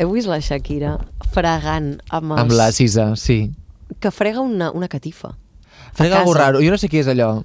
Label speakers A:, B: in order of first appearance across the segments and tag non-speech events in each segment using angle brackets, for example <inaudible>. A: Heu vist la Shakira fregant amb els...
B: Amb la Sisa, sí.
A: Que frega una, una catifa.
B: Frega algo
A: casa.
B: raro. Jo no sé qui és allò.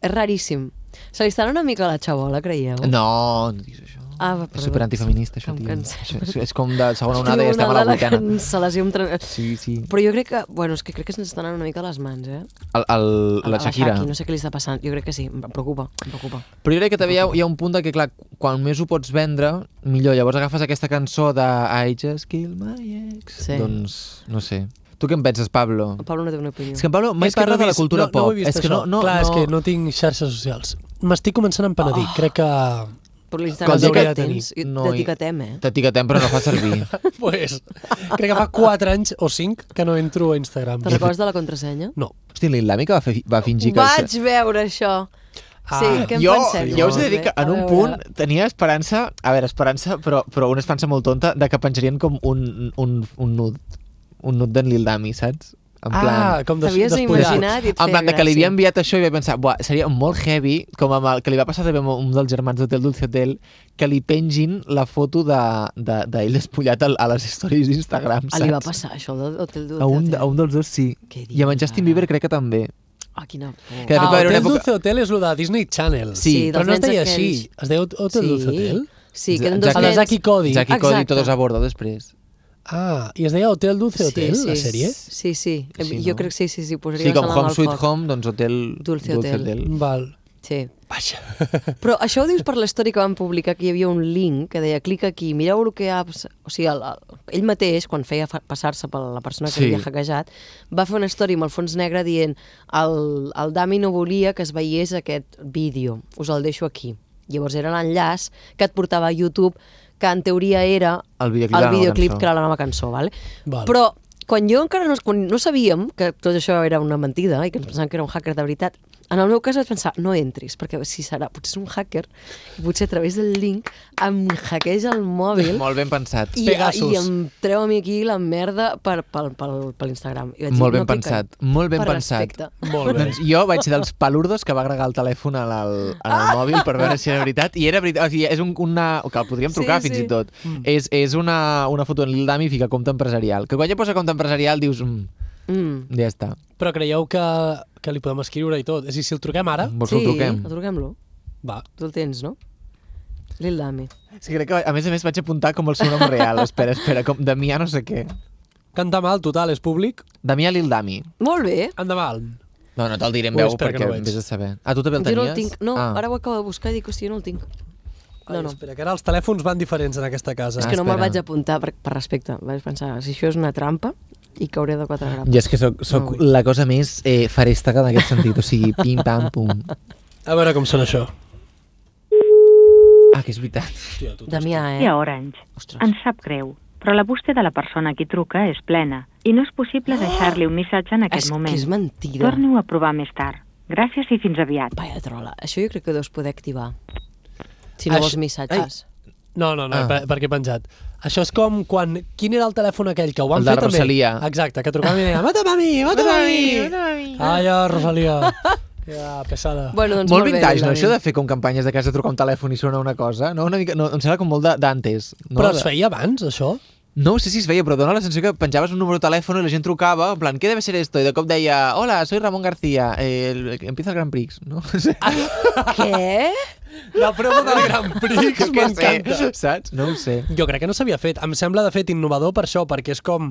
A: És raríssim. Se li estarà una mica la xavola, creieu?
B: No, no diguis això.
A: Ah, va,
B: és
A: perdó.
B: superantifeminista, això,
A: Em
B: tio.
A: cansem.
B: Això, és- és com de
A: <laughs>
B: segona onada i estem a la vuitena.
A: Cancel·lació amb... tran-
B: Sí, sí.
A: Però jo crec que... Bueno, és que crec que se'ns estan anant una mica a les mans, eh?
B: El, el,
A: A-
B: la
A: a
B: Shakira.
A: Shaki, no sé què li està passant. Jo crec que sí, em preocupa, em preocupa.
B: Però jo crec que també hi ha, hi ha un punt de que, clar, quan més ho pots vendre, millor. Llavors agafes aquesta cançó de I just kill my ex.
A: Sí.
B: Doncs, no sé. Tu què en penses, Pablo?
A: El Pablo no té una opinió.
B: És que en Pablo mai
C: És que
B: parla
C: no he
B: de la
C: vist-
B: cultura
C: no,
B: pop.
C: No ho he vist,
B: és que no,
C: això.
B: no,
C: Clar,
B: no... Ah.
C: és que no tinc xarxes socials. M'estic començant a penedir. Oh.
B: <laughs>
C: Crec que...
A: Però li
B: Com
A: estan
B: dic que-
A: que tens. I
B: no hi-
A: T'etiquetem, eh?
B: T'etiquetem, però no fa servir.
C: pues, crec que fa 4 anys o 5 que no entro a Instagram.
A: Te'n recordes de la contrasenya?
C: No.
B: Hosti, l'Islami que va, fer, va fingir que...
A: Vaig veure això. Sí,
C: Ah,
A: què en
B: jo,
A: penseu?
B: jo us he de dir
A: Bé,
B: que
A: a
B: en un
A: veure.
B: punt tenia esperança, a veure, esperança, però, però una esperança molt tonta, de que penjarien com un, un, un nud, un nud d'en Lil Dami, saps? En
C: Ah,
B: plan...
C: com des,
A: T'havies
C: despullat.
A: imaginat? i et
B: en
A: feia
B: plan, de que li havia
A: gràcia.
B: enviat això i vaig pensar, buah, seria molt heavy, com amb el que li va passar també a un dels germans d'Hotel Dulce Hotel, que li pengin la foto d'ell de, de, d'ell despullat a, a les stories d'Instagram,
A: Ah,
B: saps?
A: li va passar això, el hotel
B: A un, a un dels dos sí.
A: Què
B: I amb en
A: dius,
B: Justin
A: ara?
B: Bieber crec que també.
A: Ah, quina por.
B: Que de fet va
C: Ah,
B: haver
C: Hotel
B: una
C: època...
B: època...
C: Dulce Hotel és el de Disney Channel.
B: Sí. Sí,
A: dels
C: però no es
A: nens
C: deia
A: aquells.
C: així. Es deia Hotel Dulce Hotel?
A: Sí, que eren dos
C: Exacte.
A: nens...
C: El de Zaki Cody.
B: Zaki Cody,
A: Exacte.
B: todos a bordo, després.
C: Ah, i es deia Hotel Dulce Hotel, la sèrie?
A: Sí, sí.
B: Sí,
A: jo
B: no?
A: crec que sí, sí, sí. Posaria
B: Sí, com
A: la sang
B: Home
A: al
B: Sweet
A: foc.
B: Home, doncs Hotel
A: Dulce Hotel.
C: Val.
A: Sí.
C: Vaja.
A: <laughs> Però això ho dius per la història que van publicar, que hi havia un link que deia clica aquí, mireu el que ha... pas-" O sigui, el, el, ell mateix, quan feia fa- passar-se per la persona que
B: Sí.
A: sí. havia hackejat, va fer una història amb el fons negre dient el, el Dami no volia que es veiés aquest vídeo, us el deixo aquí. Llavors era l'enllaç que et portava a YouTube, que en teoria era
B: El videoclip de la
A: el
B: nova
A: videoclip
B: cançó.
A: que era la nova cançó. Vale?
C: Val.
A: Però quan jo encara no, quan no sabíem que tot això era una mentida i que ens pensàvem que era un hacker de veritat, en el meu cas vaig pensar, no entris, perquè si serà, potser és un hacker, i potser a través del link em hackeja el mòbil
B: Molt ben pensat.
A: i,
C: Pegasus.
A: i em treu a mi aquí la merda per, per, per, per l'Instagram. I vaig dir,
B: Molt
A: no
B: ben
A: clica-hi,
B: pensat, molt ben
A: per
B: pensat.
A: Respecte.
C: Molt bé.
B: Doncs jo vaig ser dels palurdos que va agregar el telèfon al, al, al
A: Ah.
B: mòbil per veure si era veritat, i era veritat, o sigui, és un, una... que el podríem
A: Sí,
B: trucar
A: sí. Mm.
B: fins i tot. És, és una, una foto en Lil Dami i fica compte empresarial, que quan ja posa compte empresarial dius, mm,
A: Mm.
B: ja està,
C: Però creieu que, que li podem escriure i tot? És a dir, si el truquem ara,
B: vols
A: Ah, sí,
B: que el truquem?
A: truquem-lo.
C: va.
A: Tu el tens, no? Lil Dami.
B: Sí, crec que, a més a més, vaig apuntar com el seu nom
A: <laughs>
B: real. espera, espera, com Damià no sé què.
C: Canta mal, total, és públic.
B: Damià Lil Dami.
A: Molt bé.
C: Endavant.
B: No, no te'l diré en
C: Ui,
B: veu
C: espera que
B: perquè
C: no ho veig.
B: vés a saber. Ah, tu també el
A: Jo no
B: tenies?
A: el tinc. No,
B: ah.
A: ara ho acabo de buscar i dic, hòstia, no el tinc.
C: Ai,
A: No, Ah. no.
C: Espera, que ara els telèfons van diferents en aquesta casa.
A: És que no me'l
B: Ah, espera.
A: vaig apuntar per, per respecte. Vaig pensar, si això és una trampa, i cauré de quatre grapes.
B: I és que sóc, sóc
A: No,
B: la cosa més eh, farèstaga en aquest sentit, o sigui, pim, pam, pum.
C: A veure com sona això.
B: Ah, que és veritat.
C: Hòstia, tu.
A: Damià,
D: i
A: eh?
D: a Orange.
A: Ostres.
D: Ens sap greu, però la bústia de la persona a qui truca és plena i no és possible deixar-li un missatge en
A: és
D: aquest
A: que
D: moment.
A: és mentida.
D: Torni-ho a provar més tard. Gràcies i fins aviat.
A: Vaya trola. Això jo crec que ho deus poder activar. Si no
C: Això-
A: vols missatges.
C: No, no, no,
B: Ah.
C: ah. per, perquè he penjat. Això és com quan... Quin era el telèfon aquell que ho van
B: El de
C: fer també?
B: Rosalia.
C: Exacte, que trucava i
B: Eh,
C: deia, mata mami, mata mami. Ai, ah, Rosalia. Ja, pesada.
A: Bueno, doncs
B: molt
A: molt,
B: vintage,
A: bé,
B: no?
A: Dani.
B: Això de fer com campanyes de casa, trucar un telèfon i sona una cosa, no? Una mica, no, em sembla com molt de- d'antes. No?
C: Però es feia abans, això?
B: No sé si es feia, però dona la sensació que penjaves un número de telèfon i la gent trucava, en plan, què debe ser esto? I de cop deia, hola, soy Ramon García, eh, el- empieza el Grand Prix, no? <laughs> No sé. <laughs>
A: Què?
C: La promo del <laughs> Grand Prix,
B: Jo què
C: m'encanta.
B: sé, Saps? No ho sé.
C: Jo crec que no s'havia fet. Em sembla, de fet, innovador per això, perquè és com...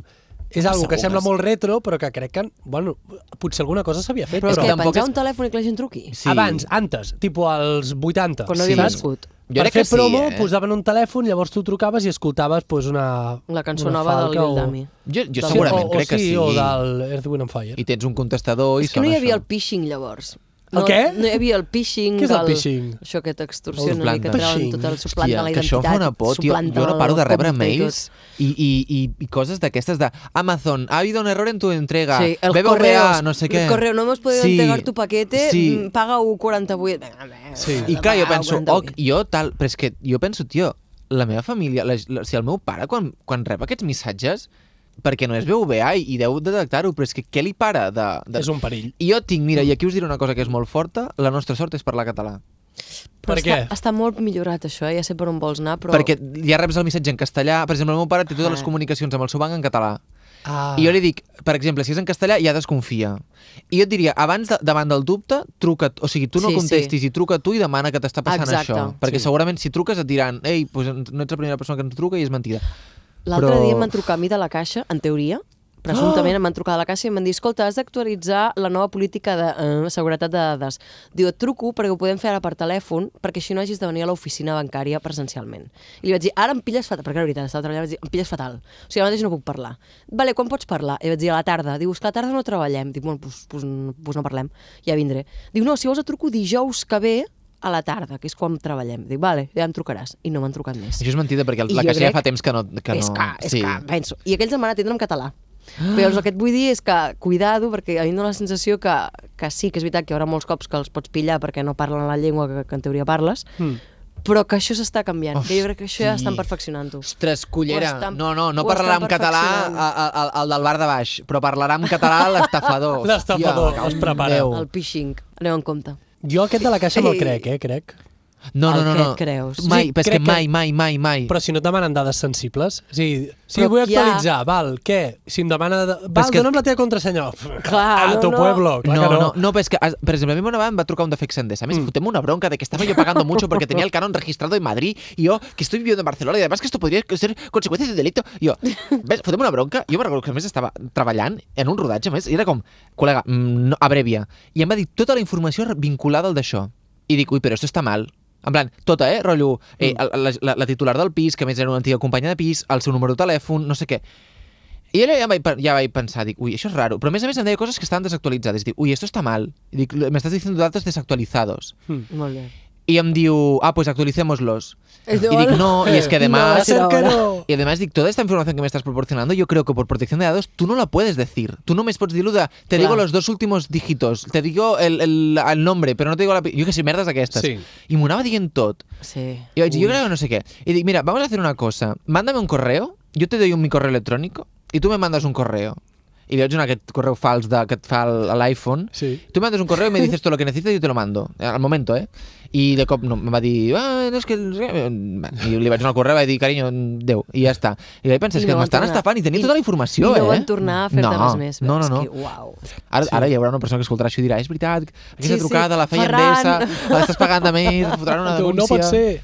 C: És algo que
B: segur
C: sembla
B: que sí.
C: molt retro, però que crec que... Bueno, potser alguna cosa s'havia fet,
A: Però és
C: però...
A: que
B: tampoc
A: penjar
B: és-
A: un telèfon i que la gent truqui.
B: Sí.
C: Abans, antes, tipo als 80.
A: Quan no havia nascut.
B: Jo
C: Jo per
B: crec
C: fer
B: que sí,
C: promo
B: eh?
C: posaven un telèfon, llavors tu trucaves i escoltaves pues, una...
A: La cançó
C: una
A: nova del
C: falca
A: Lil
C: o-
A: Dami.
B: Jo, jo
A: Del-
B: segurament
C: o, o
B: crec que sí.
C: O del Earth, Wind and Fire.
B: I tens un contestador
A: És
B: i
A: que no hi
B: sona
A: havia
B: això.
A: el phishing, llavors.
C: El
A: No,
C: què?
A: No hi havia el phishing.
C: Què és el
A: del-
C: phishing?
A: Això que
B: El
A: t'extorsionen i que
B: suplanten.
A: treuen
C: Phishing.
A: tot el suplant de la
B: que
A: identitat.
B: això em fa una por, tio.
A: suplanten
B: Jo no
A: el
B: paro de rebre
A: compte i tot.
B: mails i, i, i, i coses d'aquestes de Amazon, ha habido un error en tu entrega.
A: Sí, el
B: BBVA,
A: correo.
B: no sé què.
A: El correo, no hemos podido
B: Sí,
A: entregar tu paquete, mm, ah,
B: Sí.
A: sí. paga 1,48. Venga, venga,
C: Sí.
B: I clar, jo
A: paga
B: penso,
A: 1,48.
B: oh, jo tal... Però és que jo penso, tio, la meva família, la, la, si el meu pare, quan, quan rep aquests missatges, perquè no és BVA i, i deu detectar-ho, però és que què li para de... de...
C: És un perill.
B: I jo tinc, mira, i aquí us diré una cosa que és molt forta, la nostra sort és parlar català.
A: Però
C: Per
A: està,
C: què?
A: està molt millorat, això, eh? ja sé per on vols anar, però...
B: Perquè ja reps el missatge en castellà. Per exemple, el meu pare té totes les
A: Ah.
B: comunicacions amb el seu banc en català.
C: Ah.
B: I jo li dic, per exemple, si és en castellà, ja desconfia. I jo et diria, abans de, davant del dubte, truca... O sigui, tu no
A: Sí,
B: sí,
A: sí.
B: contestis sí. i truca tu i demana que t'està passant
A: Exacte,
B: això. Perquè
A: sí.
B: segurament si truques et diran, ei, doncs no ets la primera persona que ens truca i és mentida.
A: L'altre
B: Però-
A: dia em van trucar a mi de la Caixa, en teoria, presumptament em van trucar de la Caixa i em van dir escolta, has d'actualitzar la nova política de eh, seguretat de dades. Diu, et truco perquè ho podem fer ara per telèfon perquè així no hagis de venir a l'oficina bancària presencialment. I li vaig dir, ara em pilles fatal, perquè la veritat, estava treballant, vaig dir, em pilles fatal. O sigui, ara mateix no puc parlar. Vale, quan pots parlar? I vaig dir, a la tarda. Diu, és que a la tarda no treballem. Dic, bueno, pues, pues, no- pues no parlem, ja vindré. Diu, no, si vols et truco dijous que ve a la tarda, que és quan treballem. Dic, vale, ja em trucaràs. I no m'han trucat més.
B: Això és mentida, perquè
A: I
B: la
A: jo
B: caixa ja
A: crec-
B: fa temps que no... Que
A: és
B: no...
A: que, és sí. que, penso. I aquells em van atendre en català. Però llavors el que et vull dir és que, cuidado, perquè a mi em dóna la sensació que, que sí, que és veritat que hi haurà molts cops que els pots pillar perquè no parlen la llengua que, que en teoria parles,
B: Hmm.
A: mm. però que això s'està canviant, Hosti. que jo crec que això ja estan perfeccionant-ho.
B: Ostres,
A: Ho
B: collera.
A: estan-
B: No, no, no
A: ho
B: parlarà
A: estan
B: en català a,
A: perfeccionant.
B: a, a, el del bar de baix, però parlarà en català l'estafador. Hòstia,
C: L'estafador,
B: cago en
C: es prepara.
B: Déu.
A: El phishing, aneu en compte.
C: Jo aquest de la caixa me'l
A: Sí.
C: crec, eh, crec.
B: No, no,
A: El
B: no,
A: que
B: no.
A: creus.
B: Mai,
C: Sí,
B: però és
C: crec
B: que
C: que-
B: mai, mai, mai, mai.
C: Però si no et demanen dades sensibles, o sigui, si
A: Però
C: vull
A: qui ha-
C: actualitzar, val, què? Si em demana... de- Val,
B: que-
C: que... dona'm la teva contrasenya.
A: Clar,
C: a
A: no,
C: tu
A: no.
C: pueblo, clar
B: no,
C: que Mm.
B: no, no, pero es que, as- por ejemplo, a mí me van va a trucar un defex en Endesa. Me dice, "Fotem una bronca de que estaba yo pagando mucho porque tenía el canon registrado en Madrid y yo, que estoy viviendo en Barcelona y además que esto podría ser consecuencia de un delito. Y yo, ves, fotem una bronca. Jo me'n recordo que a més estava treballant en un rodatge, a més, i era com, col·lega, mm, no, abrevia. I em va dir tota la informació vinculada al d'això. I dic, ui, però esto està mal. En plan, tota, eh? Rotllo, eh,
C: Mm.
B: la, la, la titular del pis, que a més era una antiga companya de pis, el seu número de telèfon, no sé què. I allò ja vaig, pe- ja vaig pensar, dic, ui, això és raro. Però a més a més em deia coses que estaven desactualitzades. Dic, ui, esto está mal. I dic, me estás diciendo datos desactualizados.
C: Hm.
A: Molt bé.
B: I em diu, ah, pues actualicémoslos.
A: Eh,
B: y dic, <laughs> no, y es que
A: No va a
B: además...
A: ser ahora.
B: y además, dic, toda esta información que me estás proporcionando, yo creo que por protección de datos tú no la puedes decir. Tú no me pots dir lo de, te
A: Clar.
B: digo los dos últimos dígitos, te digo el, el, el nombre, pero no te digo la... pi-". Jo que sé, merdes aquestes.
C: Sí.
B: I m'ho anava dient tot.
A: Sí.
B: Y yo creo que no sé qué. Y digo, mira, vamos a hacer una cosa. Mándame un correo, yo te doy un, mi correo electrónico y tú me mandas un correo. Y le doy un correo falso de, que et fa el- el iPhone.
C: Sí.
B: Tú me mandas un correo y me dices todo lo que necesitas y yo te lo mando. eh, Al momento, ¿eh? Y de cop no, me va a decir, ah, no es que... el- eh", Y le vaig donar el correu i vaig dir, cariño, Déu. I ja està. I vaig pensar,
A: I
B: és que
A: no van
B: m'estan
A: tornar.
B: estafant i tenia
A: I-
B: tota la informació,
A: I no
B: eh?
A: van tornar a fer-te
B: no,
A: res més.
B: No, no, no.
A: És que, uau.
B: Ara, ara hi haurà una persona que escoltarà això i dirà és veritat, aquesta
A: Sí, sí,
B: trucada la feia
A: Ferran.
B: Endesa, l'estàs pagant de
A: <laughs>
B: més, et fotran una
C: Diu,
B: denúncia...
C: no pot ser.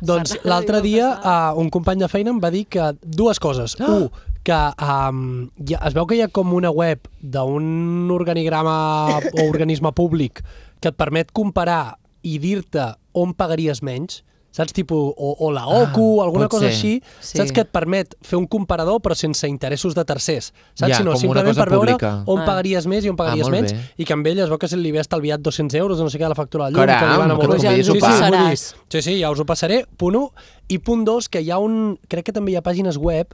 C: Doncs
A: Serà
C: l'altre
A: no
C: dia
A: passarà.
C: uh, un company de feina em va dir que dues coses.
B: Ah!
C: Un, que um, ja, es veu que hi ha com una web d'un organigrama o organisme públic que et permet comparar i dir-te on pagaries menys, saps? Tipo, o, o la OCU,
B: Ah,
C: ah, alguna
B: pot
C: cosa
B: ser.
C: així.
A: Sí.
C: Saps que et permet fer un comparador però sense interessos de tercers, saps?
B: Ja, com
C: sinó
B: una
C: simplement
B: cosa
C: per veure
B: pública.
C: on
A: Ah.
C: pagaries més i on pagaries
B: molt
C: menys
B: bé.
C: i que amb ell es veu que se li havia estalviat 200 euros o no sé què de la factura del llum
B: Caram,
C: que li van a
B: que
A: tu convidis
C: sí,
A: sopar.
C: sí, vull dir,
A: Passaràs.
C: Sí, sí, ja us ho passaré. Punt 1. I punt 2, que hi ha un... Crec que també hi ha pàgines web.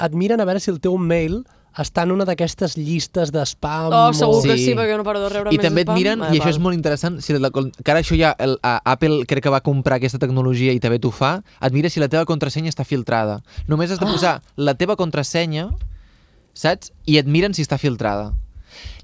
C: Et miren a veure si el teu mail està en una d'aquestes llistes d'espam.
A: Oh, segur
B: Sí.
A: que sí, perquè no paro de rebre
B: I
A: més
B: també et
A: spam.
B: miren,
A: Ah,
B: i això
A: val.
B: és molt interessant, si la, que ara això ja el, a, Apple crec que va comprar aquesta tecnologia i també t'ho fa, et mira si la teva contrasenya està filtrada. Només
A: Ah.
B: has de posar la teva contrasenya, saps? I et miren si està filtrada.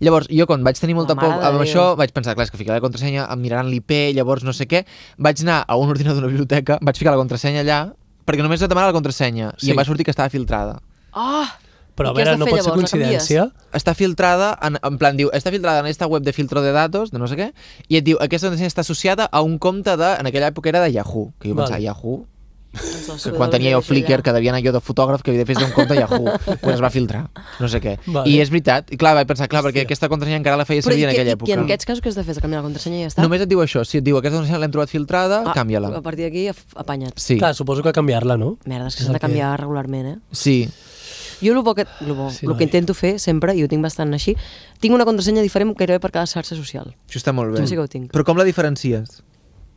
B: Llavors, jo quan vaig tenir molta
A: La
B: por
A: mare de
B: amb
A: Déu.
B: això, vaig pensar, clar, és que ficaré la contrasenya, em miraran l'IP, llavors no sé què. Vaig anar a un ordinador d'una biblioteca, vaig ficar la contrasenya allà, perquè només et demana la contrasenya,
C: Sí.
B: i em va sortir que estava filtrada.
A: Ah!
C: Però
A: I
C: a
A: què has
C: veure,
A: de
C: no
A: fer,
C: pot ser
A: llavors? La canvies?
C: coincidència.
B: està filtrada, en, en plan diu, està filtrada en esta web de filtro de datos, de no sé què, i et diu, aquesta contrasenya està associada a un compte de, en aquella època era de Yahoo, que jo
C: Val.
B: pensava, Yahoo,
A: Doncs la
B: que quan tenia jo Flickr, que devia anar jo de fotògraf, que havia de fer d'un compte a
C: <laughs>
B: Yahoo, quan es va filtrar, no sé què.
C: Vale.
B: I és veritat, i clar, vaig pensar, clar, perquè aquesta contrasenya encara la feia
A: Però i,
B: servir en
A: què-
B: aquella
A: i, i en
B: època.
A: aquests casos que has de fer? És canviar la contrasenya i ja està?
B: Només et diu això, si et diu, aquesta contrasenya l'hem trobat filtrada,
A: Ah, A
B: canvia-la.
A: partir d'aquí, af- apanya't.
B: Sí,
C: Clar, suposo que canviar-la, no?
A: Merda, és que
C: És
A: s'han
C: el
A: de canviar regularment, eh?
B: sí.
A: Jo el bo que, el bo,
C: Sí,
A: el que
C: noi.
A: intento fer sempre, i ho tinc bastant així, tinc una contrasenya diferent gairebé per cada xarxa social.
B: Això està molt bé.
A: Jo sí que ho tinc.
B: Però com la diferencies?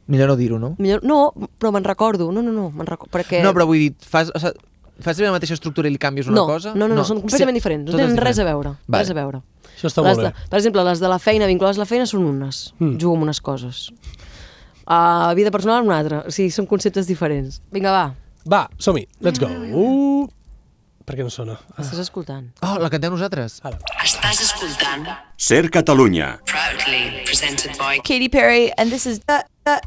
B: Millor no dir-ho, no?
A: Millor, no, però me'n recordo. No, no, no, me'n recordo. Perquè...
B: No, però vull dir, fas, o sigui, fas la mateixa estructura i li canvies una
A: no,
B: cosa?
A: No, no, no, són completament diferents. No
B: totes
A: tenen res a
B: diferents.
A: veure.
B: Vale.
A: Res a veure.
C: Això està
A: les
C: molt
A: de,
C: bé.
A: per exemple, les de la feina, vinculades a la feina, són unes.
C: Mm.
A: Jugo amb unes coses. Uh, vida personal, una altra. O sigui, són conceptes diferents. Vinga, va,
C: Va, som-hi. Let's go.
A: Ah.
C: Uh, per què no sona?
A: estàs escoltant.
B: Oh, la cantem nosaltres?
A: Ah.
C: Ara.
E: Estàs escoltant
F: Ser Catalunya.
E: Proudly, presented by
G: Katy Perry, and this is. Uh, uh.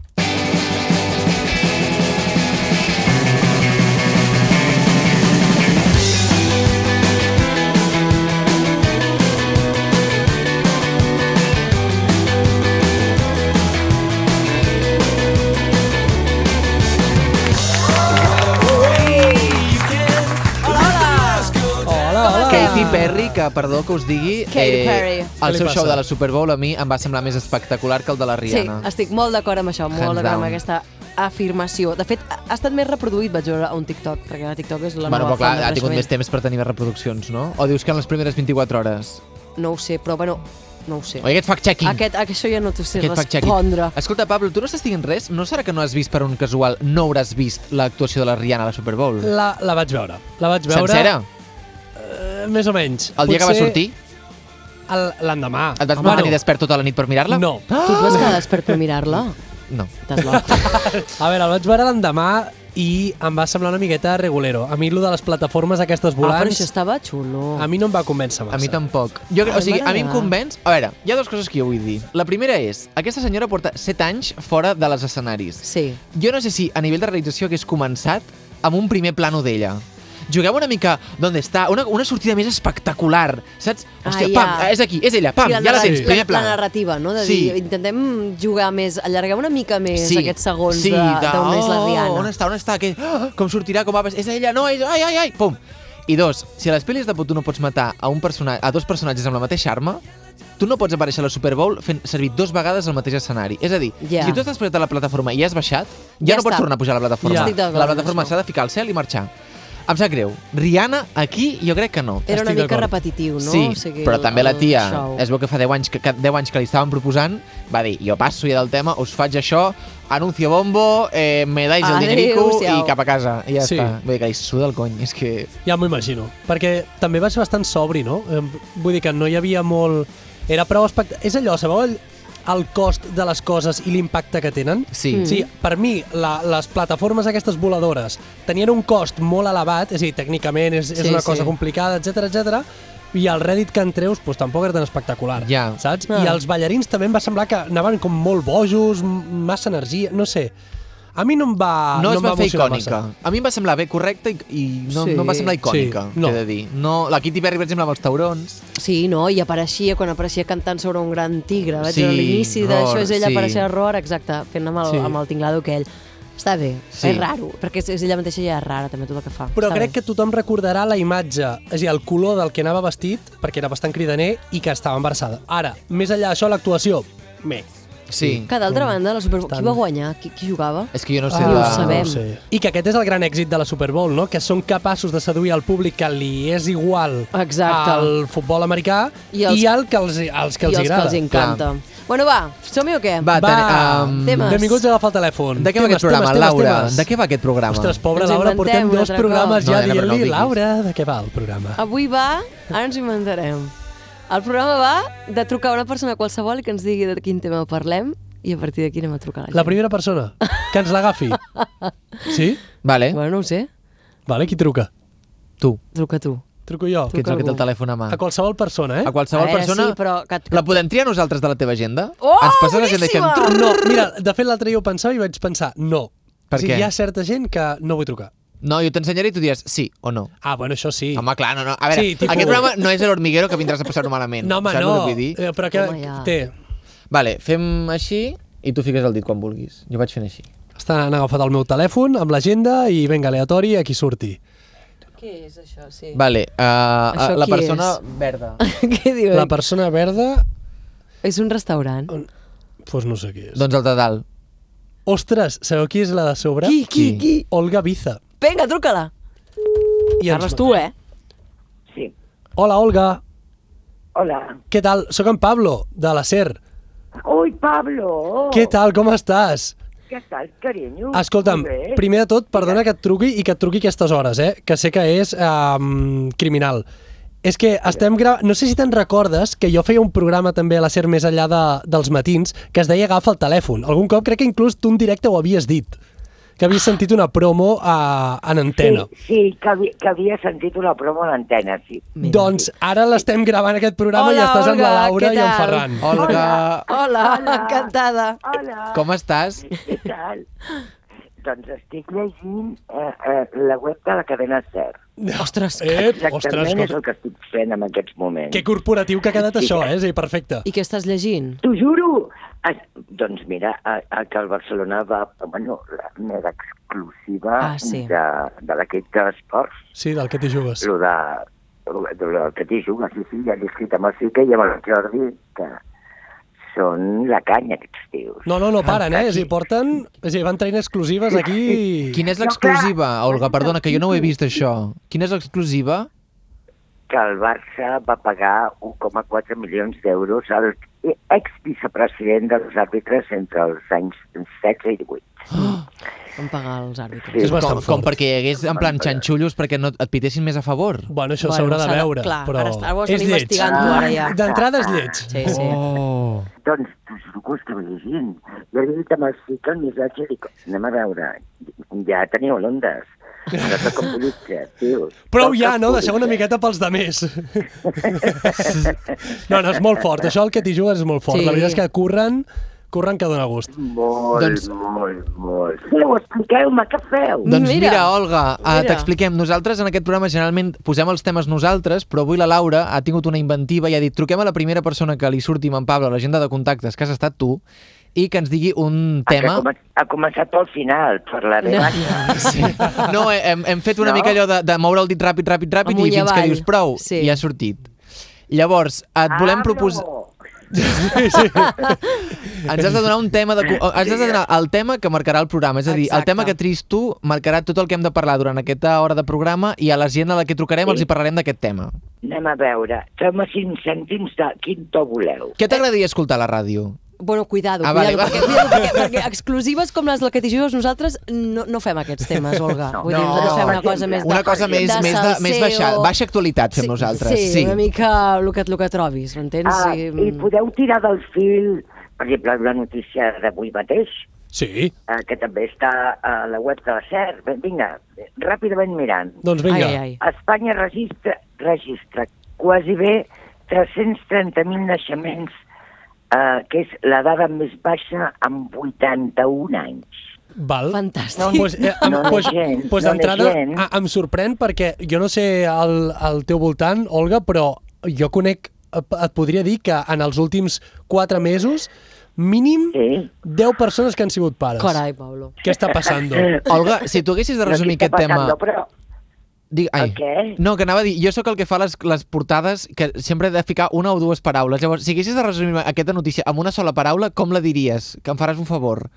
B: Katy Perry, que perdó que us digui, eh,
E: Katy Perry.
C: Què
B: el
C: li
B: seu
C: passa?
B: show de la Super Bowl a mi em va semblar més espectacular que el de la
A: Sí,
B: Rihanna.
A: estic molt d'acord amb això,
B: Hands
A: molt d'acord amb
B: down.
A: aquesta afirmació. De fet, ha ha estat més reproduït, vaig veure, a un TikTok, perquè la TikTok és la
B: bueno,
A: nova
B: però clar,
A: font de
B: ha tingut
A: creixement.
B: més temps per tenir més reproduccions, no? O dius que en les primeres 24 hores?
A: No ho sé, però bueno, no ho sé.
B: Oi, aquest fact-checking.
A: Aquest, això ja no t'ho sé
B: Aquest fact-checking.
A: respondre.
B: Escolta, Pablo, tu no estàs dient res? No serà que no has vist per un casual, no hauràs vist l'actuació de la Rihanna a la Super Bowl?
C: La, la vaig veure. La vaig veure...
B: Sencera?
C: Eh, Més o menys.
B: El dia que va sortir?
C: el- L'endemà.
B: Et vas
C: Bueno,
B: mantenir despert tota la nit per mirar-la?
C: No.
A: Tu et vas quedar despert per mirar-la? Ah,
B: No.
A: Estàs
B: <laughs>
A: loc.
C: A veure, el vaig veure l'endemà i em va semblar una miqueta regulero. A mi, lo de les plataformes aquestes
A: Ah, però
C: volants,
A: això estava xulo.
C: a mi no em va convèncer massa.
B: A mi tampoc. Jo,
A: Ai,
B: o sigui, a mi em
A: m'agrada.
B: convenç... A veure, hi ha dues coses que jo vull dir. La primera és, aquesta senyora porta 7 anys fora de les escenaris.
A: Sí.
B: Jo no sé si a nivell de realització hagués començat amb un primer plano d'ella. Jugueu una mica d'on està, una, una sortida més espectacular, saps? Hòstia,
A: Ah, ja.
B: pam, és aquí, és ella, pam,
A: Sí,
B: Ah, ja la tens,
A: narra-
B: primer
A: La
B: plano.
A: narrativa, no? De
B: Sí.
A: dir, intentem jugar més, allarguem una mica més
B: Sí,
A: aquests segons
B: sí,
A: de- d'on és la
B: oh,
A: Rihanna.
B: On està, on està, que, ah, com sortirà, com va... pas- És ella, no, és... Ai, ai, ai, pum. I dos, si a les pel·lis de por tu no pots matar a, un persona, a dos personatges amb la mateixa arma, tu no pots aparèixer a la Super Bowl fent servir dos vegades el mateix escenari. És a dir,
A: Ja.
B: si tu estàs posat a la plataforma i has baixat, ja,
A: Ja
B: no pots
A: està.
B: tornar a pujar a
A: Ja.
B: la plataforma.
A: Estic d'acord
B: La
A: amb
B: plataforma
A: això.
B: s'ha de ficar al cel i marxar. Em sap greu. Rihanna, aquí, jo crec que no.
A: Era una
C: Estic
A: mica
C: d'acord.
A: repetitiu, no?
B: Sí,
A: o sigui,
B: però
A: el-
B: també la
A: el
B: tia,
A: show.
B: es veu que fa 10 anys que, que, 10 anys que li estaven proposant, va dir, jo passo ja del tema, us faig això, anuncio bombo, eh, me dais el
A: Adéu,
B: dinerico i
A: siau.
B: cap a casa. I ja
C: Sí.
B: està. Vull dir que li suda el cony, és que...
C: Ja m'ho imagino. Perquè també va ser bastant sobri, no? Em- Vull dir que no hi havia molt... Era prou espectacular. És allò, sabeu el, el cost de les coses i l'impacte que tenen?
B: Sí.
C: Mm. Sí, per mi, la, les plataformes aquestes voladores tenien un cost molt elevat, és a dir, tècnicament és, sí, és
A: Sí,
C: una
A: sí.
C: cosa complicada, etc etc. i el Reddit que en treus doncs, tampoc era tan espectacular,
B: Ja.
C: saps?
A: Ah.
C: I els ballarins també em va semblar que anaven com molt bojos, m- massa energia, no sé. A mi Ah, no em va...
B: no, es
C: em va
B: va fer
C: emocionar
B: icònica.
C: Massa.
B: A mi em va semblar bé correcta i, i no,
A: Sí.
B: no em va semblar icònica,
C: Sí, no.
B: t'he de dir. No, la Kitty Perry, per exemple, amb els taurons.
A: Sí, no? I apareixia, quan apareixia cantant sobre un gran tigre. Vaig
B: Sí,
A: veure l'inici
B: Roar,
A: d'això, és ella
B: sí.
A: apareixia a Roar, exacte, fent amb el,
C: Sí.
A: amb el tinglado aquell. Està bé,
B: Sí.
A: és raro, perquè és, és ella mateixa ja és rara, també, tot el que fa.
C: Però
A: Està
C: crec
A: bé.
C: que tothom recordarà la imatge, és a dir, el color del que anava vestit, perquè era bastant cridaner i que estava embarassada. Ara, més enllà d'això, l'actuació, meh.
B: Sí.
A: Que d'altra banda, la Super Bowl...
C: Tant.
A: Qui va guanyar? Qui, qui jugava?
B: És que jo no sé...
A: Ah,
B: de...
A: ho sabem.
C: No sé. I que aquest és el gran èxit de la Super Bowl, no? Que són capaços de seduir al públic que li és igual
A: Exacte.
C: al futbol americà
A: I
C: i,
A: els-
C: els, i el que els, els que els
A: I els que
C: agrada.
A: els encanta. Bueno, va, som-hi o què?
B: Va,
C: Va,
B: ten, um,
A: Temes.
C: Benvinguts a agafar el telèfon.
B: de què va aquest programa, Laura? De què va aquest programa?
C: Ostres, pobra
A: Ens
C: Laura,
A: inventem
C: portem
A: un
C: dos
A: altre
C: programes
B: cop. No, Laura,
C: ja
B: no ho
C: dient-li,
B: diguis.
C: Laura, de què va el programa?
A: Avui va... Ara ens ho inventarem. El programa va de trucar a una persona qualsevol que ens digui de quin tema parlem i a partir d'aquí anem a trucar a la gent.
C: La primera persona, que ens l'agafi. Sí?
B: Vale,
A: Bueno, no ho sé.
C: Vale, qui truca?
B: tu,
A: Truca tu.
C: Truco jo.
B: que ets el que té el
A: algú.
B: telèfon a mà.
C: A qualsevol persona, eh?
B: A qualsevol
A: A veure,
B: persona...
A: sí, però que- que-
B: La podem triar nosaltres de la teva agenda?
A: Oh,
B: Ens passa la gent i fem...
A: boníssima!
B: trrr.
C: No, mira, de fet l'altre dia ho pensava i vaig pensar, no.
B: Per
C: o sigui,
B: què?
C: Hi ha certa gent que no vull trucar.
B: No, jo t'ensenyaré i tu diràs sí o no.
C: Ah, bueno, això sí.
B: Home, clar, no, no. A veure,
C: Sí, tipus-
B: aquest programa no és l'hormiguero que vindràs a passar-ho malament.
C: no, home,
B: saps
C: no.
B: el que vull dir? Oh
C: Eh, Però que
A: Home, ja.
C: té...
B: Vale, fem així i tu fiques el dit quan vulguis. Jo vaig fent així.
C: Estan han agafat el meu telèfon amb l'agenda i vinga, aleatori, a qui surti.
A: Què és això, sí?
B: Vale, uh,
A: Això
B: la
A: qui
B: persona
A: és?
B: verda.
A: <laughs> Què
B: Eh.
A: diu?
C: La persona verda...
A: És un restaurant.
C: Doncs pues no sé qui és.
B: doncs el de dalt.
C: Ostres, sabeu qui és la de sobre?
A: Qui, qui, qui?
C: Olga Biza.
A: Vinga, truca-la.
C: I ens
A: Parles
C: va-
A: tu, eh?
F: Sí.
C: Hola, Olga.
F: Hola.
C: Què tal? Sóc en Pablo, de la SER.
F: Oi, Pablo.
C: Què tal? Com estàs?
F: Què tal, carinyo?
C: Escolta'm,
F: Molt bé.
C: primer de tot, perdona que et truqui i que et truqui aquestes hores, eh? que sé que és um, criminal. És que estem gra... No sé si te'n recordes que jo feia un programa també a la SER més enllà de, dels matins que es deia Agafa el telèfon. Algun cop crec que inclús tu en directe ho havies dit. Que havies sentit una promo a, en antena.
F: Sí, sí que, havia, que havia sentit una promo a l'antena, sí.
A: Mira.
C: Doncs ara l'estem gravant aquest programa i
A: Hola,
C: estàs amb la
A: Olga,
C: Laura
A: què
C: i en
A: tal?
C: Ferran.
B: Olga,
A: Hola, encantada.
F: Hola.
B: com estàs?
F: Què tal? doncs estic llegint eh, eh, la web de la cadena SER.
A: Ostres,
C: Eh,
F: Exactament
C: ostres,
F: és
C: que,
F: el que estic fent en aquests moments.
C: que corporatiu que ha quedat això, eh? És a dir, perfecte.
A: I què estàs llegint?
F: T'ho juro! Es, doncs mira, a, a que el Barcelona va... Bueno, la meva exclusiva
A: Ah, sí.
F: de, de l'equip d'esports
C: Sí, del que t'hi jugues.
F: lo de el que t'hi juga, sí, sí, ja l'he escrit amb el Sique i amb el Jordi, que són la canya, aquests tios.
C: No, no, no paren, eh? És a dir, porten... És a dir, van traient exclusives aquí...
B: Quina és
F: No,
B: l'exclusiva,
F: clar.
B: Olga? Perdona, que jo no ho he vist, això. Quina és l'exclusiva?
F: que el Barça va pagar 1,4 milions d'euros al ex-vicepresident dels àrbitres entre els anys 16 i 18.
A: Van pagar els àrbitres.
F: Sí.
C: És bastant
B: Com, com
C: fort.
B: perquè hi hagués, en plan, xanxullos perquè no et pitessin més a favor.
C: Bueno, això
A: Bueno,
C: s'haurà
A: s'ha
C: de
A: de-
C: veure,
A: clar,
C: però...
A: ara està- ara ho estan
C: és lleig. Ah,
A: investigant, ara ja.
C: D'entrada és lleig.
A: Sí, sí.
B: Oh.
F: Doncs t'ho juro que ho estava llegint. Jo li he dit amb el cicle el missatge, dic, anem a veure, ja teniu l'ondes. No sóc com eh, Pulitzer, tios.
C: Prou
F: No
C: ja,
F: sóc
C: no? Deixeu una
F: Pulitzer.
C: miqueta pels de
F: <laughs>
C: més. No, no, és molt fort. Això el que t'hi jugues és molt fort.
A: Sí.
C: La veritat és que curren, curren que dóna gust.
F: Molt,
B: Doncs-
F: doncs... molt, molt. Feu, expliqueu-me, què feu?
B: Doncs mira,
A: Mira.
B: mira Olga, eh,
A: Mira.
B: t'expliquem. Nosaltres en aquest programa generalment posem els temes nosaltres, però avui la Laura ha tingut una inventiva i ha dit truquem a la primera persona que li surti amb en Pablo a l'agenda de contactes, que has estat tu, i que ens digui un
F: Ah, que
B: tema...
F: Ha, comen- ha començat pel final, per la meva...
B: <laughs> Sí. No, eh, hem, hem fet una
F: No?
B: mica allò de, de moure el dit ràpid, ràpid, ràpid,
A: Amunt
B: i
A: i
B: fins que
A: avall.
B: dius prou,
A: Sí.
B: i ha sortit. Llavors, et
F: Ah,
B: volem proposar... Ens has de donar un tema de... co-
F: <laughs>
B: Ens has de donar el tema que marcarà el programa. És a dir, el
A: Exacte.
B: tema que tris tu marcarà tot el que hem de parlar durant aquesta hora de programa i a la gent a la que trucarem
F: Sí.
B: els hi parlarem d'aquest tema.
F: Anem a veure, feu-me cinc cèntims de quin to voleu.
B: Què t'agradaria escoltar a la ràdio?
A: Bueno, cuidado,
B: Ah,
A: ah,
B: vale,
A: cuidado, vale,
B: vale.
A: perquè, cuidado perquè, perquè exclusives com les del que t'hi jugues nosaltres no, no fem aquests temes, Olga.
F: No.
A: Vull dir,
B: No.
A: nosaltres fem una cosa més de...
B: Una cosa més,
A: de
B: més, de, més baixa,
A: salseo.
B: baixa actualitat fem nosaltres.
A: Sí,
B: sí.
A: una mica el que, el que trobis, m'entens? mm.
F: Ah, I podeu tirar del fil, per exemple, la notícia d'avui mateix,
C: Sí.
F: eh, que també està a la web de la SER. Bé, Vinga, ràpidament mirant.
C: Doncs
A: Vinga.
C: vinga.
A: Ai, ai, ai.
F: Espanya registra, registra quasi bé 330.000 naixements, eh, que és la dada més baixa amb 81 anys.
C: Val.
A: Fantàstic.
C: No, pues, eh, em,
F: No n'hi ha
C: pues,
F: gent,
C: pues
F: no n'hi ha
C: d'entrada
F: gent.
C: a- em sorprèn perquè jo no sé al, al teu voltant, Olga, però jo conec, et podria dir que en els últims 4 mesos mínim
F: Sí.
C: 10 persones que han sigut pares.
A: Carai, Pablo.
C: Què està passant?
B: Olga, si tu haguessis de resumir
F: no sé què
B: aquest
F: està
B: tema...
F: passant, Però
B: Dic, ai,
F: El què?
B: No, que anava a dir, jo sóc el que fa les, les portades que sempre he de ficar una o dues paraules. Llavors, si haguessis de resumir aquesta notícia amb una sola paraula, com la diries? Que em faràs un favor.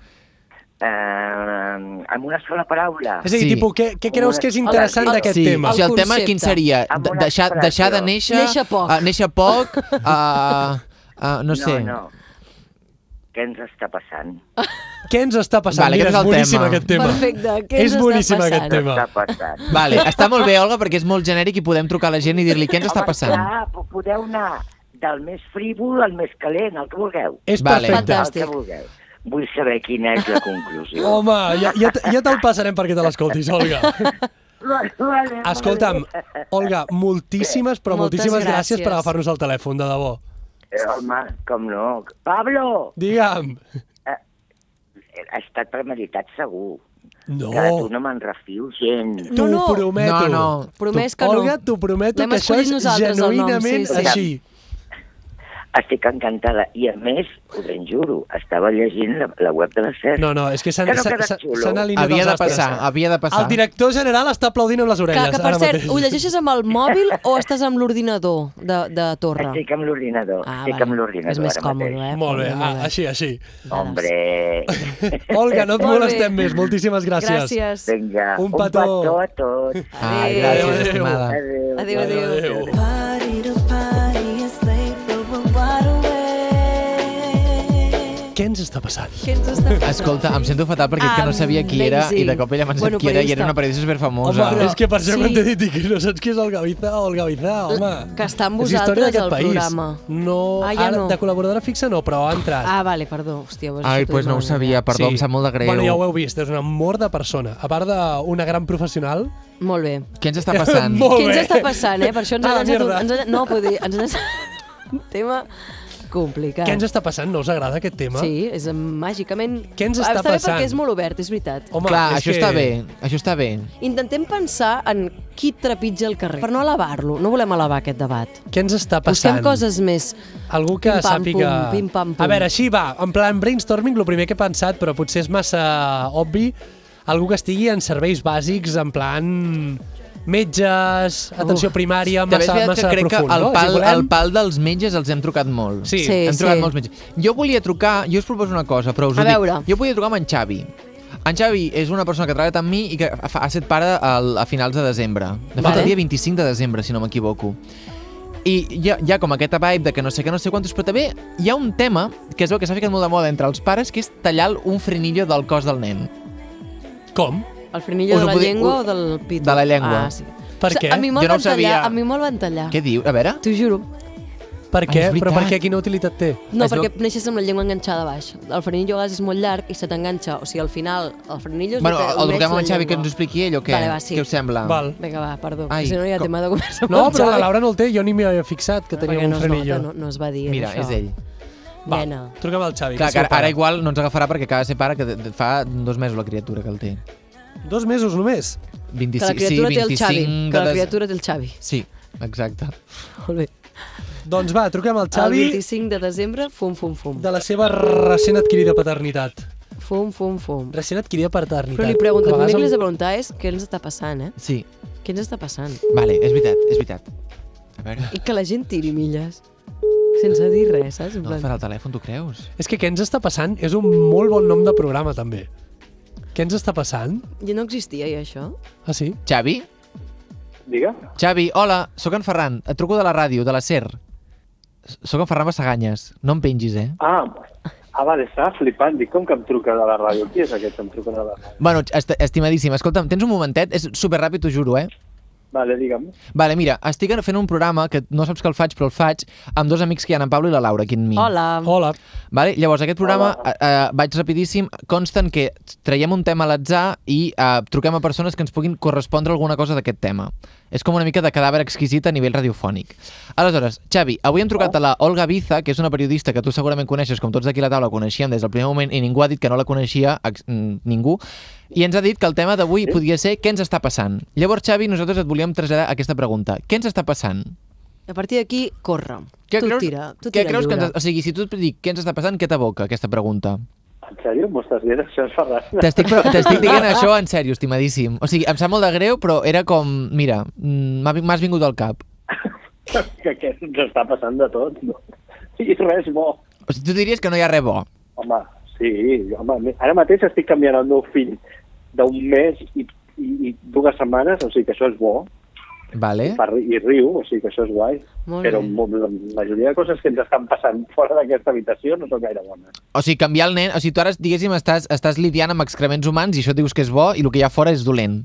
F: eh, amb una sola paraula.
C: És a dir,
B: Sí.
C: tipus, què, què creus que és
F: Hola,
C: interessant
A: hola.
C: d'aquest
B: sí,
C: tema?
B: O sigui, el,
A: El
B: tema
A: concepte.
B: quin seria?
F: Amb
B: De-
F: una
B: Deixar, deixar de
F: expressió.
B: néixer...
A: Néixer poc.
B: eh, néixer
A: <laughs>
B: poc, uh, uh, no sé.
F: No, no. Què ens està passant?
C: Què ens està passant?
B: Vale,
C: Mira,
B: aquest és
C: és
B: el
C: boníssim
B: tema.
C: aquest tema.
A: Perfecte, què ens
C: és
A: està
C: boníssim
A: passant?
C: aquest tema.
F: Està passant.
B: Vale, està molt bé, Olga, perquè és molt genèric i podem trucar a la gent i dir-li què ens està
F: Home,
B: passant.
F: Clar, po- podeu anar del més frívol al més calent, el que vulgueu.
C: És
B: Vale.
C: perfecte.
A: Fantàstic.
F: El que vulgueu. Vull saber quina és la conclusió.
C: Home, ja, ja, te- ja te'l passarem perquè te
A: <laughs>
C: l'escoltis, Olga.
F: <laughs> Vale, vale.
C: Escolta'm, Olga, moltíssimes, però
A: Moltes
C: moltíssimes gràcies,
A: gràcies.
C: per agafar-nos el telèfon, de debò.
F: Eh, home, com no. Pablo!
C: Digue'm.
F: Ha estat premeditat segur.
C: No,
F: Que de tu no me'n refio gent.
C: t'ho
A: No, no.
B: No,
C: prometo.
B: no.
A: Promès
C: T'ho-
A: que no.
C: Olga, t'ho prometo
A: L'hem
C: que això
A: escollit
C: és
A: nosaltres, el nom, sí,
C: genuïnament
A: sí.
C: així.
F: Estic encantada. I a més, ho ben juro, estava llegint la, la web de la SER.
C: No, no, és que s'han
F: Que no
C: s'ha-
F: queda
C: s'ha-
F: xulo.
C: s'han alineat
B: Havia
C: els
B: de
C: astres.
B: passar, havia de passar.
C: El director general està aplaudint amb les
A: Que,
C: orelles,
A: que per
C: ara
A: cert,
C: mateix.
A: ho llegeixes amb el mòbil o estàs amb l'ordinador de, de torre?
F: Estic amb l'ordinador.
A: Ah,
F: estic
A: vale.
F: amb l'ordinador.
A: És més
F: ara
A: còmode,
F: mateix.
A: eh?
C: <laughs> Molt bé,
A: Molt
C: ah, així, així.
A: <laughs>
C: <laughs>
F: Hombre.
C: Olga, no
A: Molt
C: et
A: bé.
C: molestem més, moltíssimes ah, gràcies.
A: Gràcies.
F: Vinga,
C: Un
F: un
C: petó.
F: petó. un petó a tots.
B: Ai,
A: Adéu.
C: Eh.
B: gràcies, estimada.
F: Adéu.
A: Adéu, adéu.
C: Adéu.
E: Party to party, it's late, but we're wide awake.
C: Què ens està passant?
A: Què ens està
C: <laughs>
A: passant?
B: Escolta, em sento fatal perquè és que no sabia qui era i de cop ella m'ha
A: Bueno,
B: bueno, qui era i era
A: periodista.
B: una periodista
C: Home,
B: superfamosa.
C: és que per això
A: sí.
C: quan t'he dit que no saps qui és el Gaviza o el Gaviza, home.
A: que està amb
C: És
A: vosaltres,
C: història d'aquest
A: el
C: país.
A: programa.
C: No,
A: Ah, ja
C: ara,
A: no.
C: de col·laboradora fixa no, però ha entrat.
A: Ah, vale, perdó. Hòstia, doncs
B: Ai,
A: això t'ho
B: doncs no ho
A: demano.
B: sabia, perdó,
C: Sí.
B: em sap molt de greu.
C: Bueno, ja ho heu vist, és un amor de persona. A part d'una gran professional...
A: Molt bé.
B: Què ens està passant?
C: Molt
A: Què ens
C: bé.
A: està passant, eh? Per això ens ha
C: A la
A: llançat... Un,
C: mierda.
A: ens ha, no, vull dir, ens ha llançat
C: <laughs>
A: un tema complicat.
C: Què ens està passant? No us agrada aquest tema?
A: Sí, és màgicament...
C: Què ens està
A: està bé
C: passant?
A: perquè és molt obert, és veritat.
C: Home,
B: Clar,
C: és
B: això
C: que...
B: està bé, això està bé.
A: Intentem pensar en qui trepitja el carrer, per no elevar-lo. No volem elevar aquest debat.
C: Què ens està
A: Busquem
C: passant?
A: coses més.
C: Algú que
A: Pim, pam,
C: sàpiga...
A: pum, pim, pam, pum.
C: A veure, així va, en plan brainstorming, el primer que he pensat, però potser és massa obvi, algú que estigui en serveis bàsics, en plan metges, atenció primària,
B: També és
C: massa,
B: veritat
C: massa
B: que crec que
C: profund.
B: al
C: no?
B: pal,
C: si volem...
B: al pal dels metges els hem trucat molt.
C: Sí.
A: Sí.
B: hem trucat molts metges. Jo volia trucar, jo us proposo una cosa, però us
A: A
B: ho dic.
A: veure.
B: Jo volia trucar amb en Xavi. En Xavi és una persona que ha treballat amb mi i que ha- ha set pare al, a finals de desembre. De fet,
A: Vale.
B: el dia 25 de desembre, si no m'equivoco. I hi ha, hi ha com aquesta vibe de que no sé què, no sé quantos, però també hi ha un tema que es veu que s'ha ficat molt de moda entre els pares, que és tallar un frenillo del cos del nen.
C: Com?
A: El frenillo
B: Us
A: de
B: ho
A: la
B: podria-
A: llengua
B: us-
A: o del pit?
B: de la llengua.
A: Ah, sí.
C: Per què?
A: A mi me'l
B: Jo no ho
A: van tallar,
B: sabia.
A: a mi me'l van tallar.
B: Què diu? A veure...
A: T'ho juro.
C: Per
B: Ah,
C: què?
B: és
C: Però per
B: veritat.
C: què? Quina utilitat té?
A: No,
B: Es veu-
A: perquè neixes amb la llengua enganxada a baix. El frenillo gas és molt llarg i se t'enganxa. O sigui, al final, el frenillo... és
B: Bueno,
A: que
B: el truquem
A: uneix
B: amb en
A: la
B: Xavi que
A: llengua.
B: ens ho expliqui ell o què?
A: Vale, va, sí.
B: Què us sembla?
C: Val.
A: Vinga, va, perdó.
B: Ai,
A: Ai, si no hi ha
B: com-
A: tema de conversa amb
C: No,
A: en
C: però la
A: Xavi.
C: Laura no el té, jo ni m'hi havia fixat que tenia
A: Perquè
C: un
A: no es
C: frenillo.
A: Nota, no, no es va dir
B: Mira,
A: això.
B: és ell.
C: Va,
A: Nena.
C: truca'm al
B: Clar,
C: Xavi. que
B: que
C: és el
B: ara, ara
C: pare.
B: igual no ens agafarà perquè acaba de ser pare que de- de- fa dos mesos la criatura que el té.
C: Dos mesos només?
A: Que
B: 25,
A: la criatura
B: sí,
A: té el
B: 25
A: Xavi.
B: de
A: Que la
B: des-
A: criatura té el Xavi.
B: Sí, exacte.
A: Molt bé.
C: Doncs va, truquem al
A: El
C: Xavi
A: 25 de desembre, fum, fum, fum.
C: de la seva recent adquirida paternitat.
A: Fum, fum, fum.
C: Recent adquirida paternitat.
A: Però li
C: Que
A: pregunto,
C: a
A: el primer
C: vegades
A: que li has
C: em-
A: de preguntar és què ens està passant, eh?
B: Sí,
A: Què ens està passant?
B: vale, és veritat, és veritat. A veure,
A: I que la gent tiri milles sense dir res, saps? En
B: no
A: plan,
B: farà el telèfon, tu creus?
C: És que què ens està passant és un molt bon nom de programa, també. Què ens està passant?
A: ja no existia, i això?
C: Ah, sí?
B: Xavi?
G: Digue.
B: Xavi, hola, sóc en Ferran, et truco de la ràdio, de la SER. S- Sóc en Ferran Massaganyes, no em pengis, eh?
G: Ah, ah, vale, estava flipant. Dic, com que em truca de la ràdio? Qui és aquest que em truca de la ràdio?
B: Bueno, est estimadíssim, escolta'm, tens un momentet? És superràpid, t'ho juro, eh?
G: Vale, digue'm.
B: Vale, mira, estic fent un programa que no saps que el faig, però el faig amb dos amics que hi ha, en Pablo i la Laura, aquí en mi.
A: Hola.
C: Hola.
B: Vale? Llavors, aquest programa, eh, eh, vaig rapidíssim, consten que traiem un tema a l'atzar i eh, truquem a persones que ens puguin correspondre alguna cosa d'aquest tema. És com una mica de cadàver exquisit a nivell radiofònic. Aleshores, Xavi, avui hem trucat a la Olga Biza, que és una periodista que tu segurament coneixes, com tots d'aquí a la taula coneixíem des del primer moment, i ningú ha dit que no la coneixia, ex- mm, ningú, i ens ha dit que el tema d'avui podia ser què ens està passant. Llavors, Xavi, nosaltres et volíem traslladar aquesta pregunta. Què ens està passant?
A: A partir d'aquí, corre.
B: Què
A: tu
B: creus,
A: tira, tu
B: què
A: tira
B: creus que
A: lliure.
B: ens, o sigui, si tu et dic què ens està passant, què t'aboca aquesta pregunta?
G: En sèrio? M'ho estàs dient? Això és Ferran? <laughs>
B: T'estic però- t'estic dient això en sèrio, estimadíssim. O sigui, em sap molt de greu, però era com... Mira, mm, m'ha vi- m'has vingut al cap.
G: que, que ens està passant de tot, no? I res bo.
B: O sigui, tu diries que no hi ha res bo.
G: Home, sí, home, ara mateix estic canviant el meu fill d'un mes i, i, i dues setmanes, o sigui que això és bo,
B: Vale?
G: per, i riu, o sigui que això és guai,
A: Eh? Molt
G: però
A: bé.
G: mo- la majoria de coses que ens estan passant fora d'aquesta habitació no són gaire bones.
B: O sigui, canviar el nen... O sigui, tu ara, diguéssim, estàs, estàs lidiant amb excrements humans i això dius que és bo i el que hi ha fora és dolent.